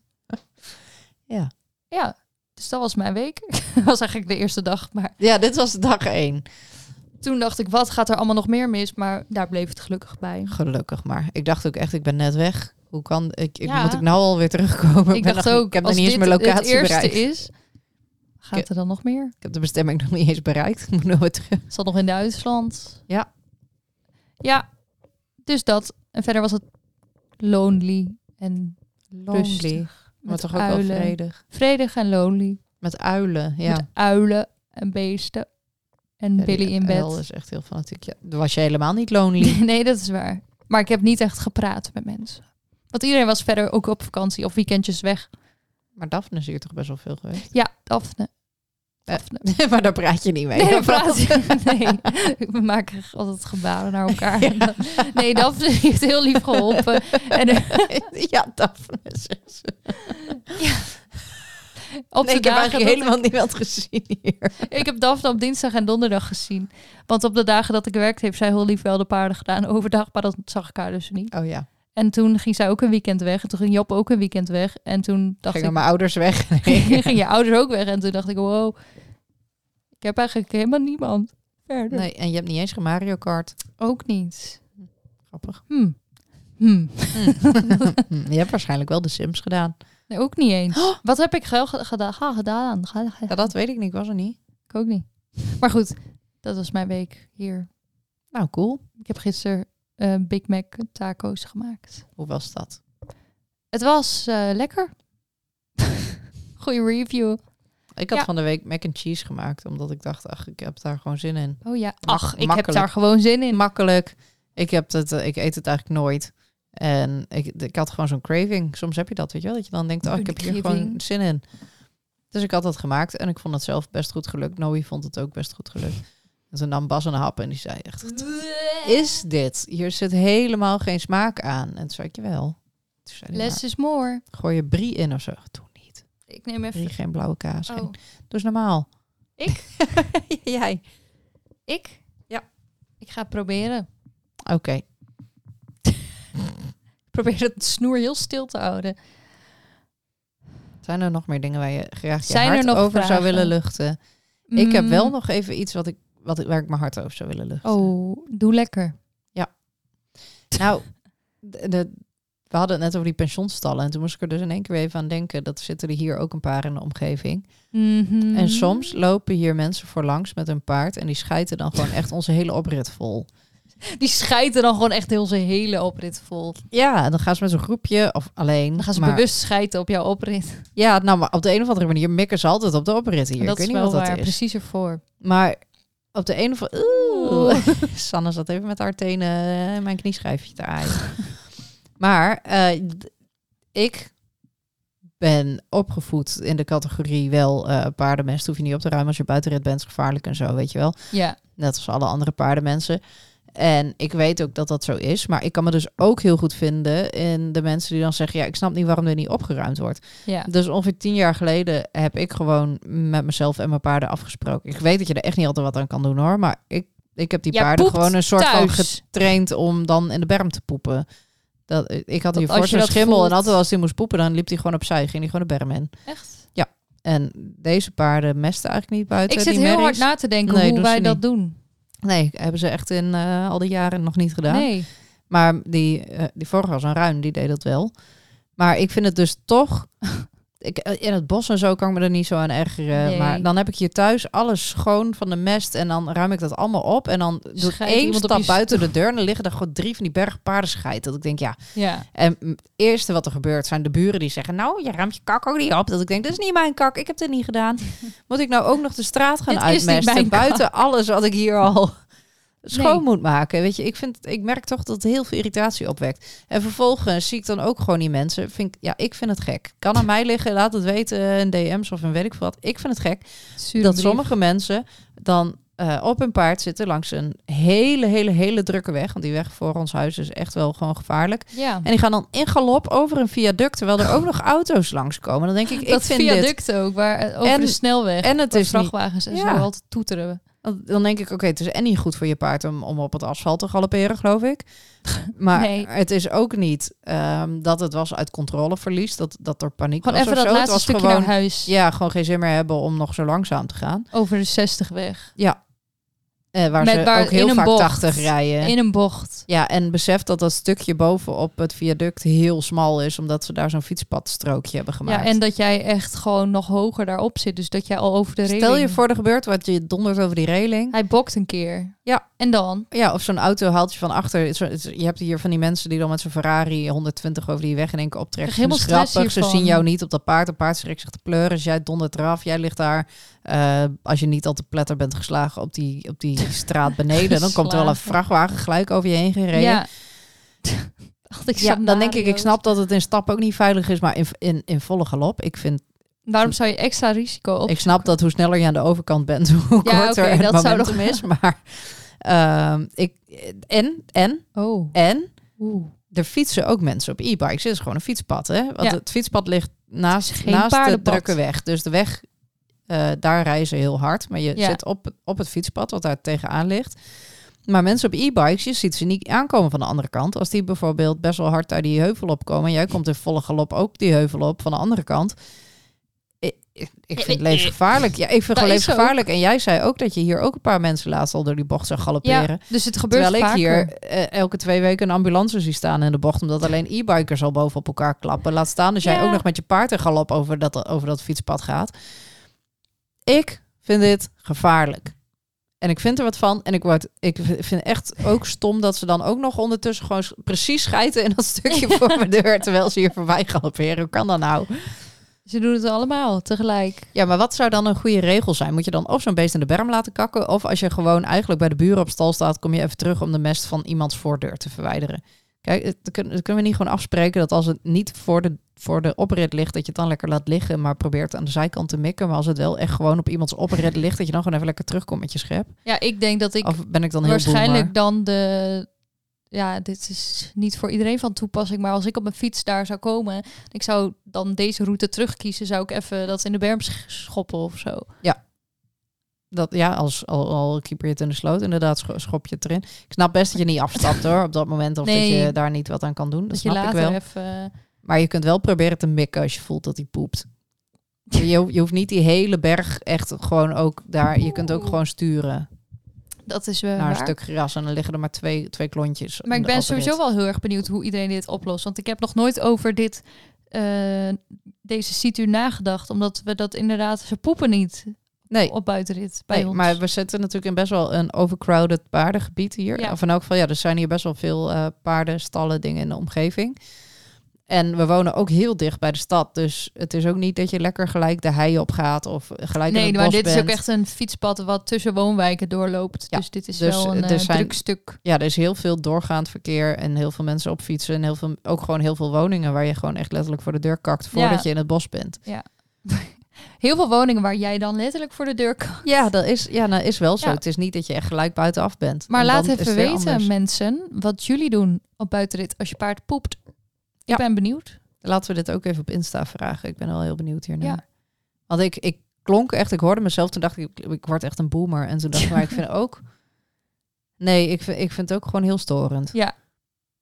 Speaker 3: Ja.
Speaker 4: Ja, dus dat was mijn week. Dat was eigenlijk de eerste dag. Maar
Speaker 3: ja, dit was dag één.
Speaker 4: toen dacht ik, wat gaat er allemaal nog meer mis? Maar daar bleef het gelukkig bij.
Speaker 3: Gelukkig maar. Ik dacht ook echt, ik ben net weg. Hoe kan ik? ik
Speaker 4: Ja.
Speaker 3: Moet ik nou alweer terugkomen?
Speaker 4: ik
Speaker 3: ben
Speaker 4: dacht
Speaker 3: nog-
Speaker 4: ook,
Speaker 3: ik heb nog
Speaker 4: als
Speaker 3: niet eens
Speaker 4: dit
Speaker 3: mijn
Speaker 4: het
Speaker 3: locatie
Speaker 4: eerste
Speaker 3: bereikt.
Speaker 4: is, gaat er dan nog meer?
Speaker 3: Ik heb de bestemming nog niet eens bereikt. Ik moet nog weer terug.
Speaker 4: Zat nog in Duitsland.
Speaker 3: Ja.
Speaker 4: Ja, dus dat. En verder was het lonely en rustig.
Speaker 3: Lonely. Maar
Speaker 4: Met
Speaker 3: toch ook wel
Speaker 4: uilen.
Speaker 3: vredig.
Speaker 4: Vredig en lonely.
Speaker 3: Met uilen, ja.
Speaker 4: Met uilen en beesten. En
Speaker 3: Ja, die
Speaker 4: Billy in
Speaker 3: uil
Speaker 4: bed.
Speaker 3: is echt heel fanatiek. Ja, dan was je helemaal niet lonely.
Speaker 4: nee, dat is waar. Maar ik heb niet echt gepraat met mensen. Want iedereen was verder ook op vakantie of weekendjes weg.
Speaker 3: maar Daphne is hier toch best wel veel geweest.
Speaker 4: Ja, Daphne.
Speaker 3: Eh,
Speaker 4: Of-
Speaker 3: maar daar praat je niet mee.
Speaker 4: Nee, dat praat je- Nee, we maken altijd gebaren naar elkaar. Nee, Daphne heeft heel lief geholpen. En eh,
Speaker 3: ja, Daphne. zus.
Speaker 4: op
Speaker 3: Nee,
Speaker 4: de
Speaker 3: ik heb
Speaker 4: dagen
Speaker 3: eigenlijk
Speaker 4: dat ik-
Speaker 3: helemaal niemand gezien hier.
Speaker 4: Ik heb Daphne op dinsdag en donderdag gezien. Want op de dagen dat ik werkte, heeft zij heel lief wel de paarden gedaan. Overdag, maar dat zag ik haar dus niet.
Speaker 3: Oh ja,
Speaker 4: En toen ging zij ook een weekend weg. En toen ging Job ook een weekend weg. En toen dacht
Speaker 3: gingen
Speaker 4: ik,
Speaker 3: mijn ouders weg.
Speaker 4: ging, je ouders ook weg. En toen dacht ik, wow, ik heb eigenlijk helemaal niemand verder.
Speaker 3: Nee, en je hebt niet eens geen Mario Kart.
Speaker 4: Ook niet.
Speaker 3: Grappig.
Speaker 4: Hm. Hm.
Speaker 3: Hm, je hebt waarschijnlijk wel de Sims gedaan.
Speaker 4: Nee, ook niet eens. Wat heb ik gel- ge- gedaan? Ga gedaan. Ga, ga-
Speaker 3: Oh. Ja, dat weet ik niet, was er niet.
Speaker 4: Ik ook niet. Maar goed, dat was mijn week hier.
Speaker 3: Nou, cool.
Speaker 4: Ik heb gisteren eh, Big Mac taco's gemaakt.
Speaker 3: Hoe was dat?
Speaker 4: Het was eh, lekker. Goeie review.
Speaker 3: Ik had
Speaker 4: Ja.
Speaker 3: van de week mac and cheese gemaakt, omdat ik dacht, ach, ik heb daar gewoon zin in.
Speaker 4: Oh ja, ach, ik heb
Speaker 3: makkelijk.
Speaker 4: daar gewoon zin in.
Speaker 3: Makkelijk. Ik, heb het, eh, ik eet het eigenlijk nooit. En ik, ik had gewoon zo'n craving. Soms heb je dat, weet je wel? Dat je dan denkt, oh, ik
Speaker 4: Die
Speaker 3: heb hier
Speaker 4: craving.
Speaker 3: gewoon zin in. Dus ik had dat gemaakt en ik vond het zelf best goed gelukt. Noe vond het ook best goed gelukt. En toen nam Bas een hap en die zei echt, is dit? Hier zit helemaal geen smaak aan. En toen zei ik, jawel. Toen zei hij,
Speaker 4: Less is more.
Speaker 3: "Maar, gooi je brie in of zo. Doe niet.
Speaker 4: Ik neem
Speaker 3: Brie,
Speaker 4: even...
Speaker 3: geen blauwe kaas. geen-
Speaker 4: Oh,
Speaker 3: Doe eens normaal.
Speaker 4: Ik?
Speaker 3: Jij.
Speaker 4: ik?
Speaker 3: Ja.
Speaker 4: Ik ga het proberen.
Speaker 3: Oké.
Speaker 4: Ik probeer het snoer heel stil te houden.
Speaker 3: Zijn er nog meer dingen waar je graag je
Speaker 4: Zijn er
Speaker 3: hart
Speaker 4: nog
Speaker 3: over zou
Speaker 4: vragen?
Speaker 3: willen luchten? Ik heb wel
Speaker 4: Mm.
Speaker 3: nog even iets wat ik, wat, ik- waar ik mijn hart over zou willen luchten.
Speaker 4: Oh, doe lekker.
Speaker 3: Nou, de, de- we hadden het net over die pensioenstallen. En toen moest ik er dus in één keer weer even aan denken. Dat zitten er hier ook een paar in de omgeving.
Speaker 4: Mhm.
Speaker 3: En soms lopen hier mensen voor langs met een paard. En die schijten dan gewoon echt onze hele oprit vol.
Speaker 4: Die schijten dan gewoon echt heel zijn hele oprit vol.
Speaker 3: Ja, en dan gaan ze met zo'n groepje of alleen.
Speaker 4: Dan gaan ze
Speaker 3: maar,
Speaker 4: bewust schijten op jouw oprit.
Speaker 3: Ja, nou, maar op de een of andere manier mikken ze altijd op de oprit hier.
Speaker 4: dat
Speaker 3: ik weet
Speaker 4: is
Speaker 3: niet wat
Speaker 4: wel
Speaker 3: dat
Speaker 4: waar,
Speaker 3: is.
Speaker 4: precies ervoor.
Speaker 3: Maar op de een of andere... Oeh. Sanne zat even met haar tenen eh, mijn knieschijfje te aaien. maar eh, d- ik ben opgevoed in de categorie wel eh paardenmest. Hoef je niet op te ruimen als je buitenrit bent. Is gevaarlijk en zo, weet je wel.
Speaker 4: Ja,
Speaker 3: Net als alle andere paardenmensen. En ik weet ook dat dat zo is. Maar ik kan me dus ook heel goed vinden in de mensen die dan zeggen... ja, ik snap niet waarom er niet opgeruimd wordt.
Speaker 4: ja.
Speaker 3: Dus ongeveer tien jaar geleden heb ik gewoon met mezelf en mijn paarden afgesproken. Ik weet dat je er echt niet altijd wat aan kan doen hoor. Maar ik, ik heb die
Speaker 4: Jij
Speaker 3: paarden
Speaker 4: poept
Speaker 3: gewoon een soort van
Speaker 4: thuis.
Speaker 3: getraind om dan in de berm te poepen. Dat, ik had
Speaker 4: Dat
Speaker 3: hiervoor
Speaker 4: als je
Speaker 3: zo'n
Speaker 4: dat
Speaker 3: schimmel
Speaker 4: voelt-
Speaker 3: en altijd als hij moest poepen, dan liep hij gewoon opzij. Ging hij gewoon de berm in.
Speaker 4: Echt?
Speaker 3: En deze paarden mesten eigenlijk niet buiten.
Speaker 4: Ik zit
Speaker 3: die
Speaker 4: heel hard
Speaker 3: merries.
Speaker 4: na te denken
Speaker 3: Nee,
Speaker 4: hoe
Speaker 3: doen
Speaker 4: wij
Speaker 3: ze
Speaker 4: dat
Speaker 3: niet.
Speaker 4: doen.
Speaker 3: Nee, hebben ze echt in eh, al die jaren nog niet gedaan.
Speaker 4: Nee.
Speaker 3: Maar die, eh, die vorige was een ruin, die deed dat wel. Maar ik vind het dus toch... Ik, eh, in het bos en zo kan ik me er niet zo aan ergeren.
Speaker 4: Nee.
Speaker 3: Maar dan heb ik hier thuis alles schoon van de mest. En dan ruim ik dat allemaal op. En dan doe ik
Speaker 4: Scheidt
Speaker 3: één
Speaker 4: iemand op
Speaker 3: stap
Speaker 4: je stoel.
Speaker 3: buiten de deur. En dan liggen er gewoon drie van die bergen paardenscheid. Dat ik denk, ja...
Speaker 4: Ja.
Speaker 3: En het eerste wat er gebeurt zijn de buren die zeggen... Nou, je ruimt je kak ook niet op. Dat ik denk, dat is niet mijn kak. Ik heb dit niet gedaan. Moet ik nou ook nog de straat gaan
Speaker 4: Dit is niet
Speaker 3: uitmesten?
Speaker 4: mijn kak.
Speaker 3: Buiten alles wat ik hier al schoon
Speaker 4: Nee.
Speaker 3: moet maken. Weet je, ik, vind, ik merk toch dat het heel veel irritatie opwekt. En vervolgens zie ik dan ook gewoon die mensen. Vind ik, ja, ik vind het gek. Kan aan mij liggen, laat het weten in DM's of in weet ik veel wat. Ik vind het gek
Speaker 4: Zure
Speaker 3: dat
Speaker 4: brief.
Speaker 3: sommige mensen dan eh, op hun paard zitten langs een hele, hele, hele drukke weg. Want die weg voor ons huis is echt wel gewoon gevaarlijk.
Speaker 4: Ja.
Speaker 3: En die gaan dan in galop over een viaduct, terwijl er ook nog auto's langskomen. Dan denk ik, ik
Speaker 4: dat
Speaker 3: vind dit...
Speaker 4: viaduct ook, waar, eh, over
Speaker 3: En-
Speaker 4: de snelweg.
Speaker 3: En het
Speaker 4: waar
Speaker 3: is niet...
Speaker 4: vrachtwagens en
Speaker 3: Ja.
Speaker 4: zo altijd toeteren.
Speaker 3: Dan denk ik, oké, het is en niet goed voor je paard om, om op het asfalt te galopperen, geloof ik. Maar
Speaker 4: Nee.
Speaker 3: het is ook niet ehm, dat het was uit controleverlies, dat, dat er paniek
Speaker 4: Gewoon
Speaker 3: was
Speaker 4: even
Speaker 3: of
Speaker 4: dat
Speaker 3: zo. Het
Speaker 4: laatste
Speaker 3: was
Speaker 4: stukje
Speaker 3: gewoon,
Speaker 4: naar huis.
Speaker 3: Ja, gewoon geen zin meer hebben om nog zo langzaam te gaan.
Speaker 4: Over de 60 weg.
Speaker 3: Eh, waar
Speaker 4: Met
Speaker 3: ze
Speaker 4: waar-
Speaker 3: ook heel
Speaker 4: in een
Speaker 3: vaak
Speaker 4: bocht.
Speaker 3: 80 rijden.
Speaker 4: In een bocht.
Speaker 3: Ja, en besef dat dat stukje bovenop het viaduct heel smal is, omdat ze daar zo'n fietspadstrookje hebben gemaakt.
Speaker 4: Ja, en dat jij echt gewoon nog hoger daarop zit. Dus dat jij al over de reling...
Speaker 3: Stel je voor er gebeurt wat je dondert over die reling.
Speaker 4: Hij bokt een keer.
Speaker 3: Ja.
Speaker 4: En dan?
Speaker 3: Ja, of zo'n auto haalt je van achter. Zo- het- Je hebt hier van die mensen die dan met zo'n Ferrari 120 over die weg in één keer optrekken.
Speaker 4: Ik krijg
Speaker 3: Ze
Speaker 4: helemaal
Speaker 3: zijn
Speaker 4: stress
Speaker 3: Ze zien
Speaker 4: hiervan.
Speaker 3: jou niet op dat paard. De paard schrikt zich te pleuren. Dus jij dondert eraf. Jij ligt daar. eh, als je niet al te pletter bent geslagen op die, op die straat beneden. Dan komt er wel een
Speaker 4: Geslagen.
Speaker 3: vrachtwagen gelijk over je heen gereden.
Speaker 4: Ja. Dacht ik,
Speaker 3: Ja, dan denk ik, ik
Speaker 4: scenario's.
Speaker 3: snap dat het in stap ook niet veilig is, maar in, in, in volle galop. Ik vind
Speaker 4: Waarom zou je extra risico op?
Speaker 3: Ik snap dat hoe sneller je aan de overkant bent, hoe
Speaker 4: Ja,
Speaker 3: korter
Speaker 4: oké,
Speaker 3: het
Speaker 4: dat zou
Speaker 3: momentum is. Maar ehm, ik, en, en,
Speaker 4: Oh,
Speaker 3: en,
Speaker 4: oeh.
Speaker 3: er fietsen ook mensen op e-bikes. Het is gewoon een fietspad, hè? Want
Speaker 4: Ja.
Speaker 3: het fietspad ligt
Speaker 4: Het
Speaker 3: naast,
Speaker 4: is geen
Speaker 3: naast de
Speaker 4: paardenpad.
Speaker 3: drukke weg. Dus de weg, eh, daar rijden ze heel hard. Maar je
Speaker 4: Ja.
Speaker 3: zit op, op het fietspad, wat daar tegenaan ligt. Maar mensen op e-bikes, je ziet ze niet aankomen van de andere kant. Als die bijvoorbeeld best wel hard uit die heuvel opkomen... en jij komt in volle galop ook die heuvel op van de andere kant... Ik, ik- ik vind het levensgevaarlijk. Ja, ik vind het gewoon
Speaker 4: Dat is zo.
Speaker 3: levensgevaarlijk. En jij zei ook dat je hier ook een paar mensen laatst al door die bocht zag galopperen.
Speaker 4: Ja, dus het gebeurt
Speaker 3: Terwijl ik
Speaker 4: vaker.
Speaker 3: hier eh, elke twee weken een ambulance zie staan in de bocht. Omdat alleen e-bikers al bovenop elkaar klappen. Laat staan als jij
Speaker 4: Ja.
Speaker 3: ook nog met je paard in galop over dat, over dat fietspad gaat. Ik vind dit gevaarlijk. En ik vind er wat van. En ik, word, ik vind echt ook stom dat ze dan ook nog ondertussen gewoon s- precies schijten in dat stukje voor mijn deur. Terwijl ze hier voorbij galopperen. Hoe kan dat nou?
Speaker 4: Ze doen het allemaal tegelijk.
Speaker 3: Ja, maar wat zou dan een goede regel zijn? Moet je dan of zo'n beest in de berm laten kakken... of als je gewoon eigenlijk bij de buren op stal staat... kom je even terug om de mest van iemands voordeur te verwijderen. Kijk, het, kun- het kunnen we niet gewoon afspreken... dat als het niet voor de, voor de oprit ligt... dat je het dan lekker laat liggen... maar probeert aan de zijkant te mikken. Maar als het wel echt gewoon op iemands oprit ligt... dat je dan gewoon even lekker terugkomt met je schep.
Speaker 4: Ja, ik denk dat ik
Speaker 3: of ben ik dan heel
Speaker 4: waarschijnlijk
Speaker 3: boomer?
Speaker 4: dan de... Ja, dit is niet voor iedereen van toepassing. Maar als ik op mijn fiets daar zou komen... en Ik zou dan deze route terugkiezen. Zou ik even dat in de berm sch- schoppen of zo.
Speaker 3: Dat, ja, als al, al keeper je het in de sloot... inderdaad, scho- schop je het erin. Ik snap best dat je niet afstapt hoor, op dat moment... of dat
Speaker 4: Nee.
Speaker 3: je daar niet wat aan kan doen. Dat,
Speaker 4: Dat, je
Speaker 3: snap ik
Speaker 4: later
Speaker 3: wel.
Speaker 4: even...
Speaker 3: Maar je kunt wel proberen te mikken als je voelt dat hij poept. Je, ho- je hoeft niet die hele berg echt gewoon ook daar. Je kunt ook
Speaker 4: Oeh.
Speaker 3: gewoon sturen
Speaker 4: Dat is wel
Speaker 3: naar een
Speaker 4: waar.
Speaker 3: stuk gras. En dan liggen er maar twee, twee klontjes.
Speaker 4: Maar
Speaker 3: in
Speaker 4: ik
Speaker 3: de
Speaker 4: ben
Speaker 3: oprit.
Speaker 4: sowieso wel heel erg benieuwd hoe iedereen dit oplost. Want ik heb nog nooit over dit, eh, deze situ nagedacht. Omdat we dat inderdaad, ze poepen niet
Speaker 3: Nee,
Speaker 4: op buitenrit bij
Speaker 3: nee
Speaker 4: ons.
Speaker 3: maar we zitten natuurlijk in best wel een overcrowded paardengebied hier.
Speaker 4: Ja.
Speaker 3: Of in elk geval, ja, er zijn hier best wel veel eh, paarden, stallen, dingen in de omgeving. En we wonen ook heel dicht bij de stad. Dus het is ook niet dat je lekker gelijk de hei op gaat of gelijk in
Speaker 4: nee,
Speaker 3: het
Speaker 4: maar
Speaker 3: bos
Speaker 4: dit is ook
Speaker 3: bent.
Speaker 4: echt een fietspad wat tussen woonwijken doorloopt.
Speaker 3: Ja,
Speaker 4: dus dit is
Speaker 3: dus
Speaker 4: wel een
Speaker 3: er
Speaker 4: eh,
Speaker 3: zijn-
Speaker 4: druk stuk.
Speaker 3: ja, er is heel veel doorgaand verkeer en heel veel mensen op fietsen en heel veel, ook gewoon heel veel woningen waar je gewoon echt letterlijk voor de deur kakt voordat
Speaker 4: Ja.
Speaker 3: je in het bos bent.
Speaker 4: Heel veel woningen waar jij dan letterlijk voor de deur kan.
Speaker 3: Ja, dat is, ja, nou, is wel zo.
Speaker 4: Ja.
Speaker 3: Het is niet dat je echt gelijk buitenaf bent.
Speaker 4: Maar
Speaker 3: En
Speaker 4: laat
Speaker 3: dan is
Speaker 4: even
Speaker 3: het weer
Speaker 4: weten,
Speaker 3: anders.
Speaker 4: mensen, wat jullie doen op buitenrit als je paard poept.
Speaker 3: Ja.
Speaker 4: Ik ben benieuwd.
Speaker 3: Laten we dit ook even op Insta vragen. Ik ben wel heel benieuwd hiernaar.
Speaker 4: Ja.
Speaker 3: Want ik, ik klonk echt, ik hoorde mezelf, toen dacht ik, ik word echt een boomer. En toen dacht ik, maar ik vind ook... Nee, ik vind, ik vind het ook gewoon heel storend.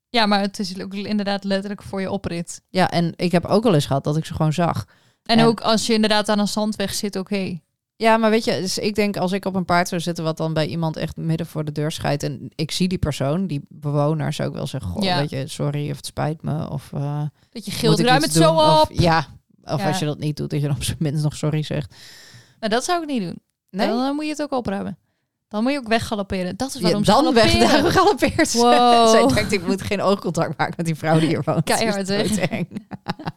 Speaker 4: Ja, maar het is ook inderdaad letterlijk voor je oprit.
Speaker 3: Ja, en ik heb ook al eens gehad dat ik ze gewoon zag.
Speaker 4: En,
Speaker 3: En-
Speaker 4: ook als je inderdaad aan een zandweg zit, oké.
Speaker 3: Ja, maar weet je, dus ik denk als ik op een paard zou zitten, wat dan bij iemand echt midden voor de deur scheidt. En ik zie die persoon, die bewoner, zou ik wel zeggen: Goh,
Speaker 4: Ja.
Speaker 3: weet je, sorry of het spijt me. Of eh
Speaker 4: Dat je
Speaker 3: moet
Speaker 4: gilt,
Speaker 3: ik
Speaker 4: ruim
Speaker 3: iets
Speaker 4: het zo
Speaker 3: doen?
Speaker 4: op.
Speaker 3: Of, ja, of
Speaker 4: Ja.
Speaker 3: als je dat niet doet, dat je dan op zijn minst nog sorry zegt.
Speaker 4: Nou, dat zou ik niet doen.
Speaker 3: Nee,
Speaker 4: Dan, eh, moet je het ook opruimen. Dan moet je ook weggalopperen. Dat is
Speaker 3: Ja,
Speaker 4: waarom ze
Speaker 3: dan weg,
Speaker 4: galopperen.
Speaker 3: daar galoppeert ze.
Speaker 4: Wow.
Speaker 3: Zij denkt, ik moet geen oogcontact maken met die vrouw die hier woont. Dat
Speaker 4: Keihard,
Speaker 3: is
Speaker 4: hè?
Speaker 3: doodeng.
Speaker 4: Ja.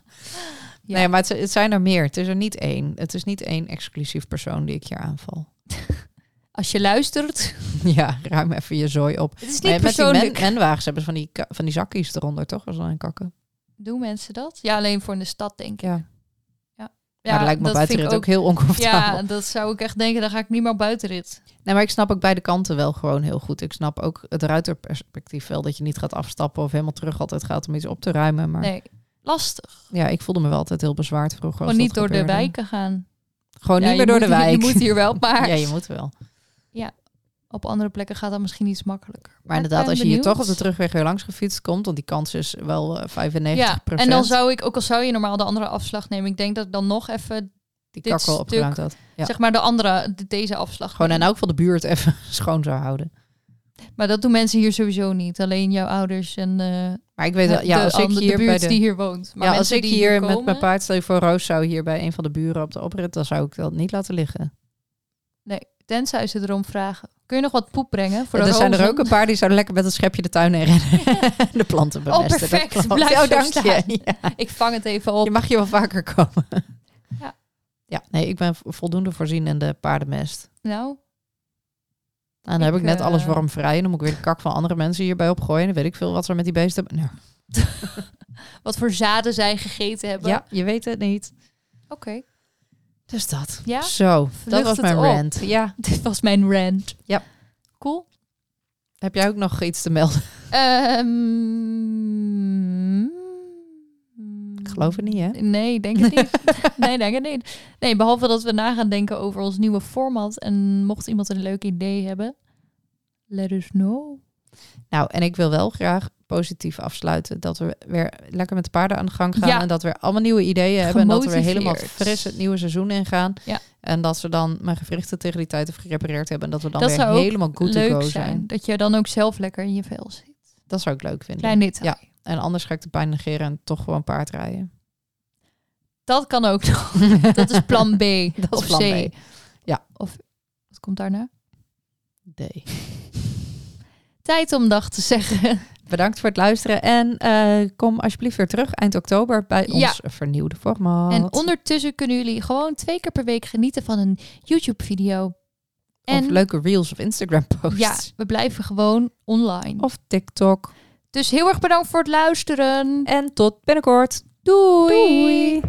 Speaker 3: Nee, maar het, het zijn er meer. Het is er niet één. Het is niet één exclusief persoon die ik hier aanval.
Speaker 4: Als je luistert.
Speaker 3: Ja, ruim even je zooi op.
Speaker 4: Het is
Speaker 3: Maar
Speaker 4: niet
Speaker 3: met die men-
Speaker 4: persoonlijk.
Speaker 3: menwagens hebben ze van die, ka- van die zakkies eronder, toch? Als ze dan in kakken.
Speaker 4: Doen mensen dat? Ja, alleen voor in de stad, denk ik.
Speaker 3: Ja.
Speaker 4: Ja,
Speaker 3: Maar dat lijkt me
Speaker 4: vind
Speaker 3: buitenrit
Speaker 4: ik
Speaker 3: ook, heel oncomfortabel.
Speaker 4: Ja, dat zou ik echt denken. Dan ga ik niet meer op buitenrit.
Speaker 3: Nee, maar ik snap ook beide kanten wel gewoon heel goed. Ik snap ook het ruiterperspectief wel. Dat je niet gaat afstappen of helemaal terug altijd gaat om iets op te ruimen. Maar
Speaker 4: Nee, lastig.
Speaker 3: ja, ik voelde me wel altijd heel bezwaard vroeger. als
Speaker 4: Gewoon niet
Speaker 3: dat
Speaker 4: door de
Speaker 3: gebeurde.
Speaker 4: wijken gaan.
Speaker 3: Gewoon
Speaker 4: Ja,
Speaker 3: niet meer
Speaker 4: je
Speaker 3: door de
Speaker 4: moet hier-
Speaker 3: wijk.
Speaker 4: Je moet hier wel, maar
Speaker 3: Ja, je moet wel.
Speaker 4: op andere plekken gaat dat misschien iets makkelijker.
Speaker 3: Maar
Speaker 4: ik
Speaker 3: inderdaad,
Speaker 4: ben
Speaker 3: als je hier
Speaker 4: benieuwd.
Speaker 3: toch op de terugweg weer langs gefietst komt... want die kans is wel eh, 95%.
Speaker 4: Ja, en dan zou ik, ook al zou je normaal de andere afslag nemen, ik denk dat ik dan nog even,
Speaker 3: die
Speaker 4: dit
Speaker 3: kakkel
Speaker 4: stuk-
Speaker 3: opgeruimd had. Ja.
Speaker 4: zeg maar, de andere, de- deze afslag.
Speaker 3: Gewoon
Speaker 4: neem.
Speaker 3: en ook van de buurt even schoon zou houden.
Speaker 4: Maar dat doen mensen hier sowieso niet. Alleen jouw ouders en eh,
Speaker 3: Maar ik weet wel, ja,
Speaker 4: de,
Speaker 3: als ik
Speaker 4: ander- de
Speaker 3: hier bij
Speaker 4: buurt
Speaker 3: de...
Speaker 4: die hier woont. Maar
Speaker 3: ja, als
Speaker 4: mensen
Speaker 3: ik
Speaker 4: die
Speaker 3: hier met
Speaker 4: komen-
Speaker 3: mijn paard, stel je voor Roos zou hier bij een van de buren op de oprit, dan zou ik dat niet laten liggen.
Speaker 4: Tenzij ze erom vragen. Kun je nog wat poep brengen? Voor
Speaker 3: Er
Speaker 4: de
Speaker 3: zijn er
Speaker 4: rozen?
Speaker 3: ook een paar die zouden lekker met een schepje de tuin heen rennen. de planten bemesten. dat
Speaker 4: Oh, perfect.
Speaker 3: klopt.
Speaker 4: Blijf
Speaker 3: Ja,
Speaker 4: zo
Speaker 3: dank
Speaker 4: staan.
Speaker 3: je. Ja,
Speaker 4: Ik vang het even op.
Speaker 3: je mag hier wel vaker komen.
Speaker 4: Ja.
Speaker 3: Ja, nee, ik ben vo- voldoende voorzien in de paardenmest.
Speaker 4: Nou,
Speaker 3: En dan heb
Speaker 4: Ik,
Speaker 3: ik net alles
Speaker 4: eh,
Speaker 3: wormvrij. En dan moet ik weer de kak van andere mensen hierbij opgooien. Dan weet ik veel wat ze met die beesten hebben. Nou,
Speaker 4: wat voor zaden zij gegeten hebben.
Speaker 3: ja, je weet het niet.
Speaker 4: Oké.
Speaker 3: Dus dat.
Speaker 4: Ja?
Speaker 3: Zo, dat
Speaker 4: Lucht
Speaker 3: was
Speaker 4: het
Speaker 3: mijn
Speaker 4: op.
Speaker 3: rant. Ja.
Speaker 4: Dit was mijn rant.
Speaker 3: Ja.
Speaker 4: Cool.
Speaker 3: Heb jij ook nog iets te melden?
Speaker 4: Ehm,
Speaker 3: Ik geloof het niet, hè?
Speaker 4: Nee, denk het niet. nee, denk het niet. Nee, behalve dat we na gaan denken over ons nieuwe format. En mocht iemand een leuk idee hebben, let us know.
Speaker 3: Nou, en ik wil wel graag positief afsluiten. Dat we weer lekker met de paarden aan de gang gaan.
Speaker 4: Ja.
Speaker 3: En dat we weer allemaal nieuwe ideeën hebben. En dat we weer helemaal
Speaker 4: Gemotiveerd.
Speaker 3: fris het nieuwe seizoen ingaan.
Speaker 4: Ja.
Speaker 3: En dat ze dan mijn gewrichten tegen die tijd hebben gerepareerd hebben. En dat we dan
Speaker 4: Dat
Speaker 3: weer
Speaker 4: zou ook
Speaker 3: helemaal goed to
Speaker 4: leuk
Speaker 3: go
Speaker 4: zijn.
Speaker 3: zijn.
Speaker 4: Dat je dan ook zelf lekker in je vel zit.
Speaker 3: Dat zou ik leuk vinden.
Speaker 4: Klein detail.
Speaker 3: Ja. En anders ga ik de pijn negeren en toch gewoon paard rijden.
Speaker 4: Dat kan ook nog. Dat is plan B.
Speaker 3: Dat is
Speaker 4: of
Speaker 3: plan
Speaker 4: C.
Speaker 3: B. Ja.
Speaker 4: Of wat komt daarna?
Speaker 3: Nee.
Speaker 4: Tijd om dag te zeggen.
Speaker 3: Bedankt voor het luisteren. En eh, kom alsjeblieft weer terug eind oktober bij
Speaker 4: Ja.
Speaker 3: ons vernieuwde format.
Speaker 4: En ondertussen kunnen jullie gewoon twee keer per week genieten van een YouTube-video.
Speaker 3: Of leuke reels of Instagram posts.
Speaker 4: ja, we blijven gewoon online.
Speaker 3: Of TikTok.
Speaker 4: Dus heel erg bedankt voor het luisteren.
Speaker 3: En tot binnenkort. Doei.